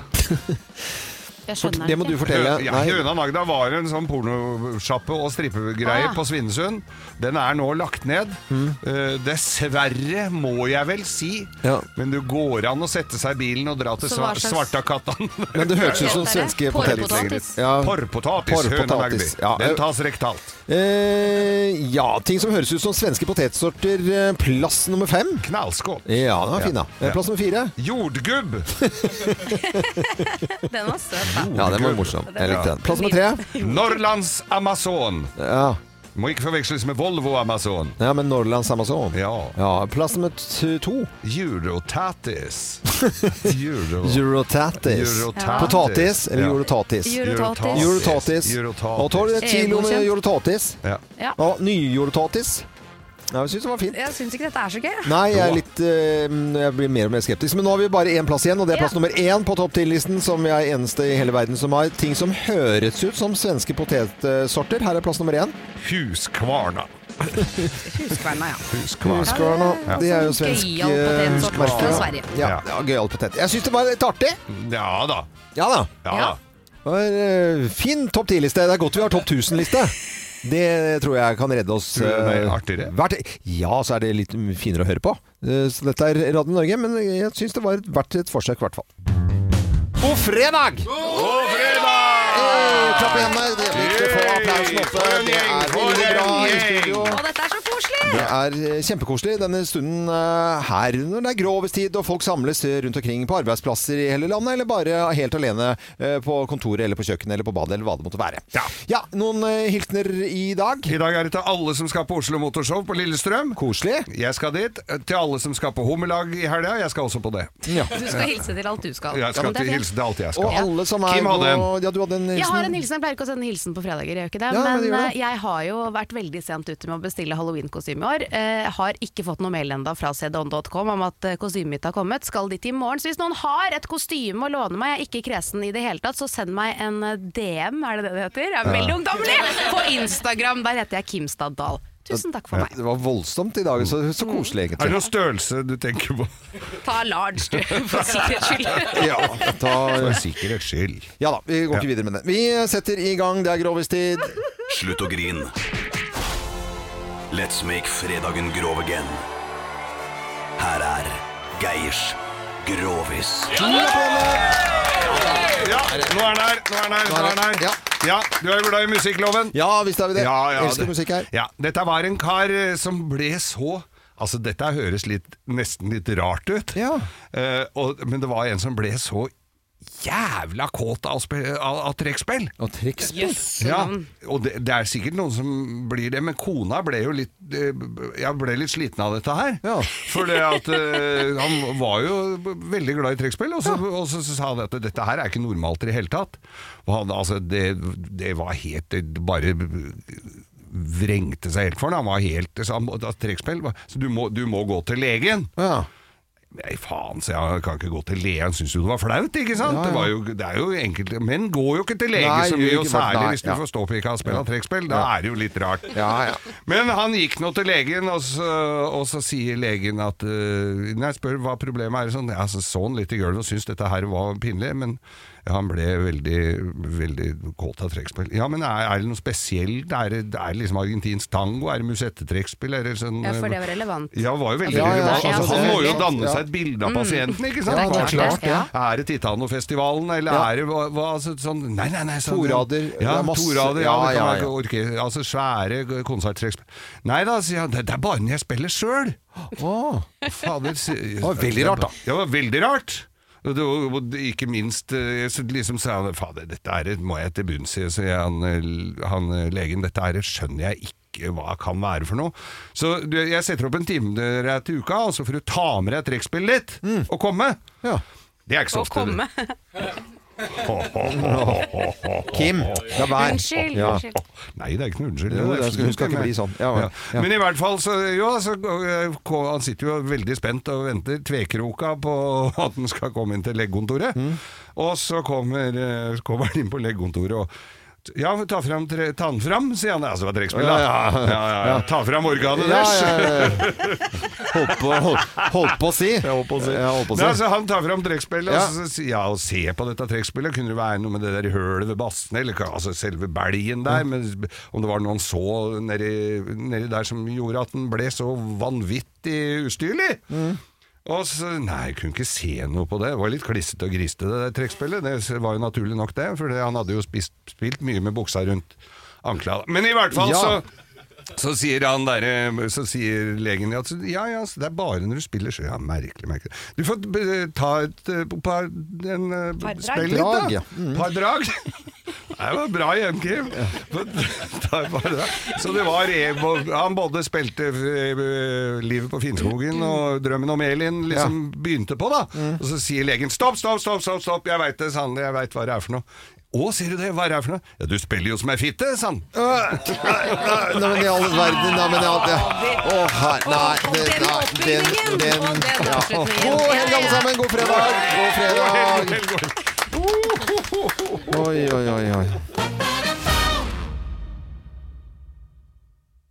Speaker 2: Jeg
Speaker 1: Fort-
Speaker 2: skjønner
Speaker 1: det må du
Speaker 2: ikke.
Speaker 1: fortelle.
Speaker 3: Hø- Ja,
Speaker 1: Nei.
Speaker 3: Høna Nagda var en sånn pornosjappe og strippegreie
Speaker 2: Ah.
Speaker 3: på Svinesund. Den er nå lagt ned.
Speaker 1: Mm.
Speaker 3: Eh, dessverre, må jeg vel si.
Speaker 1: Ja.
Speaker 3: Men det går an å sette seg i bilen og dra til
Speaker 2: Så
Speaker 3: sva
Speaker 2: hva slags-
Speaker 3: Svartakattan.
Speaker 1: Men det høres ut som
Speaker 2: Hva heter det?
Speaker 1: svenske
Speaker 2: Porrpotet.
Speaker 1: poteter.
Speaker 2: Potatis.
Speaker 1: Ja.
Speaker 3: Porrpotatis. Høna Nagdi.
Speaker 1: Porrpotatis, ja.
Speaker 3: Den tas rektalt.
Speaker 1: Eh, ja, ting som høres ut som svenske potetsorter. eh, Plass nummer fem.
Speaker 3: Knallskål.
Speaker 1: Ja, den var fin, da. Eh,
Speaker 3: Ja.
Speaker 1: Plass nummer fire.
Speaker 3: Jordgubb!
Speaker 2: Den var søt, da.
Speaker 1: Ja, den var morsom. Jeg likte den. Plass nummer tre.
Speaker 3: Norrlands Amazon.
Speaker 1: Ja,
Speaker 3: Må ikke forveksles med Volvo Amazon.
Speaker 1: ja men Norrlands Amazon.
Speaker 3: Ja.
Speaker 1: Ja, plass nummer t- to.
Speaker 3: Eurotatis. Euro...
Speaker 1: Eurotatis.
Speaker 3: Eurotatis.
Speaker 1: Potatis eller
Speaker 3: Ja.
Speaker 1: jorotatis?
Speaker 2: Eurotatis.
Speaker 1: Jorotatis.
Speaker 3: Eurotatis.
Speaker 1: Og tåler et kilo med
Speaker 2: EU-godkjent.
Speaker 1: jorotatis.
Speaker 3: Ja.
Speaker 2: Ja.
Speaker 1: Ja, nyjorotatis. Ja, jeg syns den var fin.
Speaker 2: Jeg syns ikke dette er så gøy. jeg.
Speaker 1: Nei, jeg, er litt, eh, jeg blir mer og mer skeptisk. Men nå har vi bare én plass igjen, og det
Speaker 2: Ja.
Speaker 1: er plass nummer én på topp 10-listen, som jeg er eneste i hele verden som har. Ting som høres ut som svenske potetsorter. Her er plass nummer én.
Speaker 3: Huskvarna.
Speaker 2: Huskverna, ja.
Speaker 3: Huskvarna.
Speaker 1: Huskvarna. Det er jo svensk
Speaker 2: Gøyal potet
Speaker 1: eh,
Speaker 2: som kommer fra
Speaker 1: merke.
Speaker 2: Sverige.
Speaker 1: Ja, ja gøyal potet. Jeg syns det var litt artig.
Speaker 3: Ja da.
Speaker 1: Ja da.
Speaker 3: Ja,
Speaker 2: Ja.
Speaker 3: da.
Speaker 1: Det var eh, fin topp 10-liste. Det er godt vi har topp 1000-liste. Det tror jeg kan redde oss.
Speaker 3: Tror du det er
Speaker 1: eh,
Speaker 3: artigere?
Speaker 1: hvert- ja, så er det litt finere å høre på. Eh, Så dette er Radio Norge, men jeg syns det var et- verdt et forsøk, i hvert fall. God fredag!
Speaker 3: God fredag!
Speaker 1: Eh, Klapp i hendene. Det er viktig å få applausen oppe.
Speaker 3: For en
Speaker 1: Det er
Speaker 3: gjeng, for
Speaker 1: veldig bra
Speaker 3: en
Speaker 1: i
Speaker 3: gjeng.
Speaker 1: studio.
Speaker 2: Å, dette er så koselig!
Speaker 1: Det er eh, kjempekoselig denne stunden eh, her når det er grovestid og folk samles eh, rundt omkring på arbeidsplasser i hele landet, eller bare helt alene eh, på kontoret eller på kjøkkenet eller på badet eller hva det måtte være.
Speaker 3: Ja.
Speaker 1: noen eh, hilsener i dag.
Speaker 3: I dag er det til alle som skal på Oslo Motorshow på Lillestrøm.
Speaker 1: Koselig.
Speaker 3: Jeg skal dit. Til alle som skal på Hummerlag i helga. Jeg skal også på det.
Speaker 1: Ja.
Speaker 2: Du skal hilse til alt du skal.
Speaker 3: Jeg
Speaker 2: Ja,
Speaker 3: skal
Speaker 2: men det er
Speaker 3: til
Speaker 2: fint.
Speaker 3: hilse til alt jeg skal.
Speaker 1: Og alle som er
Speaker 3: Kim hadde en.
Speaker 1: på- Ja, du hadde en
Speaker 2: Jeg har
Speaker 1: hilsen.
Speaker 2: en hilsen. Jeg pleier ikke å sende hilsen på fredager, jeg gjør ikke det.
Speaker 1: Ja, men
Speaker 2: men
Speaker 1: det gjør
Speaker 2: eh,
Speaker 1: det.
Speaker 2: jeg har jo vært veldig sent ute med å bestille halloweenkostyme i år. Eh, har ikke fått noe mail enda fra cdon.com om at eh, kostymet mitt har kommet. Skal dit i morgen. Så hvis noen har et kostyme å låne meg, jeg er ikke kresen i det hele tatt, så send meg en eh, DM, er det det det heter? Jeg er veldig ungdommelig! På Instagram. Der heter jeg Kimstad Dahl. Tusen takk for meg.
Speaker 1: Det var voldsomt i dag, så, så koselig
Speaker 3: Er det
Speaker 1: egentlig.
Speaker 3: noen størrelse du tenker på?
Speaker 2: Ta large, du, for sikkerhets skyld.
Speaker 1: Ja, da,
Speaker 3: For sikkerhets skyld.
Speaker 1: ja da, vi går ikke videre med det. Vi setter i gang, det er grovestid.
Speaker 12: Slutt å grin. Let's make fredagen grov again. Her er Geirs Grovis.
Speaker 3: Ja, nå er den her, nå er den her, nå er den her.
Speaker 1: Ja.
Speaker 3: Ja, du er jo glad i musikkloven.
Speaker 1: Ja, visst er vi det.
Speaker 3: Ja, ja,
Speaker 1: Elsker
Speaker 3: det-
Speaker 1: musikk her.
Speaker 3: Ja, dette var en kar eh, som ble så Altså, dette høres litt, nesten litt rart ut,
Speaker 1: Ja.
Speaker 3: Eh, og, men det var en som ble så jævla kåt av, spe- av, av trekkspill.
Speaker 1: Og triks.
Speaker 3: Ja, og det, det er sikkert noen som blir det, men kona ble jo litt eh, Jeg ble litt sliten av dette her.
Speaker 1: Ja.
Speaker 3: For det at eh, han var jo veldig glad i trekkspill, og, så- og så, så sa han at dette her er ikke normalt i det hele tatt. Og han, altså, det, det var helt Det bare vrengte seg helt for ham. Han var helt så han, da, Trekkspill var- Så du må, du må gå til legen.
Speaker 1: Ja.
Speaker 3: Nei, faen, så jeg kan ikke gå til legen. Han syntes jo det var flaut, ikke sant?
Speaker 1: Ja, ja.
Speaker 3: Det, var jo, det er jo enkelte Menn går jo ikke til lege
Speaker 1: Nei,
Speaker 3: så
Speaker 1: gjør
Speaker 3: mye, og
Speaker 1: ikke det.
Speaker 3: særlig
Speaker 1: Nei,
Speaker 3: hvis du
Speaker 1: ja.
Speaker 3: får ståpika og spille trekkspill. Da er det jo litt rart.
Speaker 1: Ja, ja.
Speaker 3: Men han gikk nå til legen, og så, og så sier legen at eh, Nei, spør hva problemet er. Sånn, ja, så så han litt i gulvet og syntes dette her var pinlig, men ja, han ble veldig, veldig kåt av trekkspill. Ja, men er, er det noe spesielt? Er det, er det liksom argentinsk tango? Er det musettetrekkspill? Er det sånn
Speaker 2: Ja, for det
Speaker 3: eh,
Speaker 2: var relevant.
Speaker 3: ja, var jo veldig
Speaker 1: Ja, ja, ja.
Speaker 3: relevant. Altså,
Speaker 1: Ja,
Speaker 3: han
Speaker 1: det-
Speaker 3: må jo danne
Speaker 1: ja. Mm.
Speaker 3: seg et bilde av pasienten, ikke
Speaker 1: Ja,
Speaker 3: sant?
Speaker 1: det er
Speaker 3: Hva
Speaker 1: klart,
Speaker 3: slags-
Speaker 1: ja.
Speaker 3: Er det Titanofestivalen, eller er det hva, hva, altså, sånn Nei, nei, nei. Sånn,
Speaker 1: Torader, det
Speaker 3: Ja,
Speaker 1: er masse-
Speaker 3: torader, ja, det kan
Speaker 1: ja,
Speaker 3: være orke- altså svære konserttrekk. Nei da, sier han. Det, det er bare når jeg spiller sjøl.
Speaker 1: Åh.
Speaker 3: Fader, sier-
Speaker 1: var veldig rart, da.
Speaker 3: Ja, det var veldig rart. Og det, og- og ikke minst eh, så liksom sa han Fader, dette er, et- må jeg til bunns i, sier han, eh, han eh, legen. Dette er, et skjønner jeg ikke hva kan være for noe. Så du, jeg setter opp en time dere er til uka, og så får du ta med deg trekkspillet ditt
Speaker 1: Mm.
Speaker 3: og komme. Det er ikke så
Speaker 10: Å
Speaker 3: ofte.
Speaker 10: komme.
Speaker 1: Kim, la være.
Speaker 10: Unnskyld,
Speaker 1: Ja.
Speaker 10: unnskyld.
Speaker 3: Nei, det er ikke noe unnskyld.
Speaker 1: Jo,
Speaker 3: Det er
Speaker 1: det skal- hun skal ikke bli sånn. Ja, ja. Ja.
Speaker 3: Men i hvert fall, så, jo, så eh, ko- han sitter jo veldig spent og venter tvekroka på at han skal komme inn til legekontoret.
Speaker 1: Mm.
Speaker 3: Og så kommer, eh, så kommer han inn på legekontoret og ja, ta, frem, tre- ta den fram, sier han. Altså, det var trekkspill, da.
Speaker 1: Ja, ja, ja.
Speaker 3: ja, ja. Ta fram organet
Speaker 1: Ja,
Speaker 3: deres!
Speaker 1: ja, ja, Holdt på, holdt, holdt på å si. Jeg holdt på å si.
Speaker 3: Ja, så altså, han tar fram trekkspillet
Speaker 1: Ja.
Speaker 3: og så sier ja, og se på dette trekkspillet. Kunne det være noe med det der hølet ved bassen, eller hva- altså selve belgen der? Men om det var noe han så nedi, nedi der som gjorde at den ble så vanvittig ustyrlig?
Speaker 1: Mm.
Speaker 3: Og så, Nei, jeg kunne ikke se noe på det. Det var litt klissete og griste, det der trekkspillet. Det var jo naturlig nok, det. For han hadde jo spist, spilt mye med buksa rundt ankla. Men i hvert fall
Speaker 12: Ja.
Speaker 3: så så sier, han der, så sier legen at ja, ja, så det er bare når du spiller så ja, merkelig, merkelig. Du får eh, ta et eh, par, en, eh,
Speaker 12: Par drag.
Speaker 3: spill litt,
Speaker 12: Drag,
Speaker 3: da.
Speaker 12: ja. Mm.
Speaker 3: Par drag. Det var bra hjem, Kim. Ta et par drag. Så det var eh, Han både spilte eh, Livet på Finnskogen og Drømmen om Elin liksom begynte på, da.
Speaker 12: Mm.
Speaker 3: Og så sier legen stopp, stopp, stopp, stopp, stopp. jeg veit det, sannelig, jeg veit hva det er for noe. Å, sier du det, hva er det her for noe? Ja, du spiller jo som ei fitte, sa han.
Speaker 1: Nei, altså- nei, men i all verden Nei, men i all verden Å, her Nei, det, nei den, den, ja. God helg, alle sammen. God fredag. God fredag. Oi, oi, oi, oi.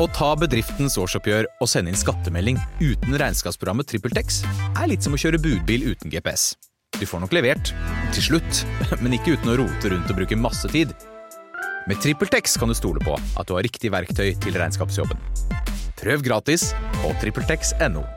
Speaker 13: Å ta bedriftens årsoppgjør og sende inn skattemelding uten regnskapsprogrammet TrippelTex er litt som å kjøre budbil uten GPS. Du får nok levert, til slutt, men ikke uten å rote rundt og bruke masse tid. Med TrippelTex kan du stole på at du har riktig verktøy til regnskapsjobben. Prøv gratis på TrippelTex.no.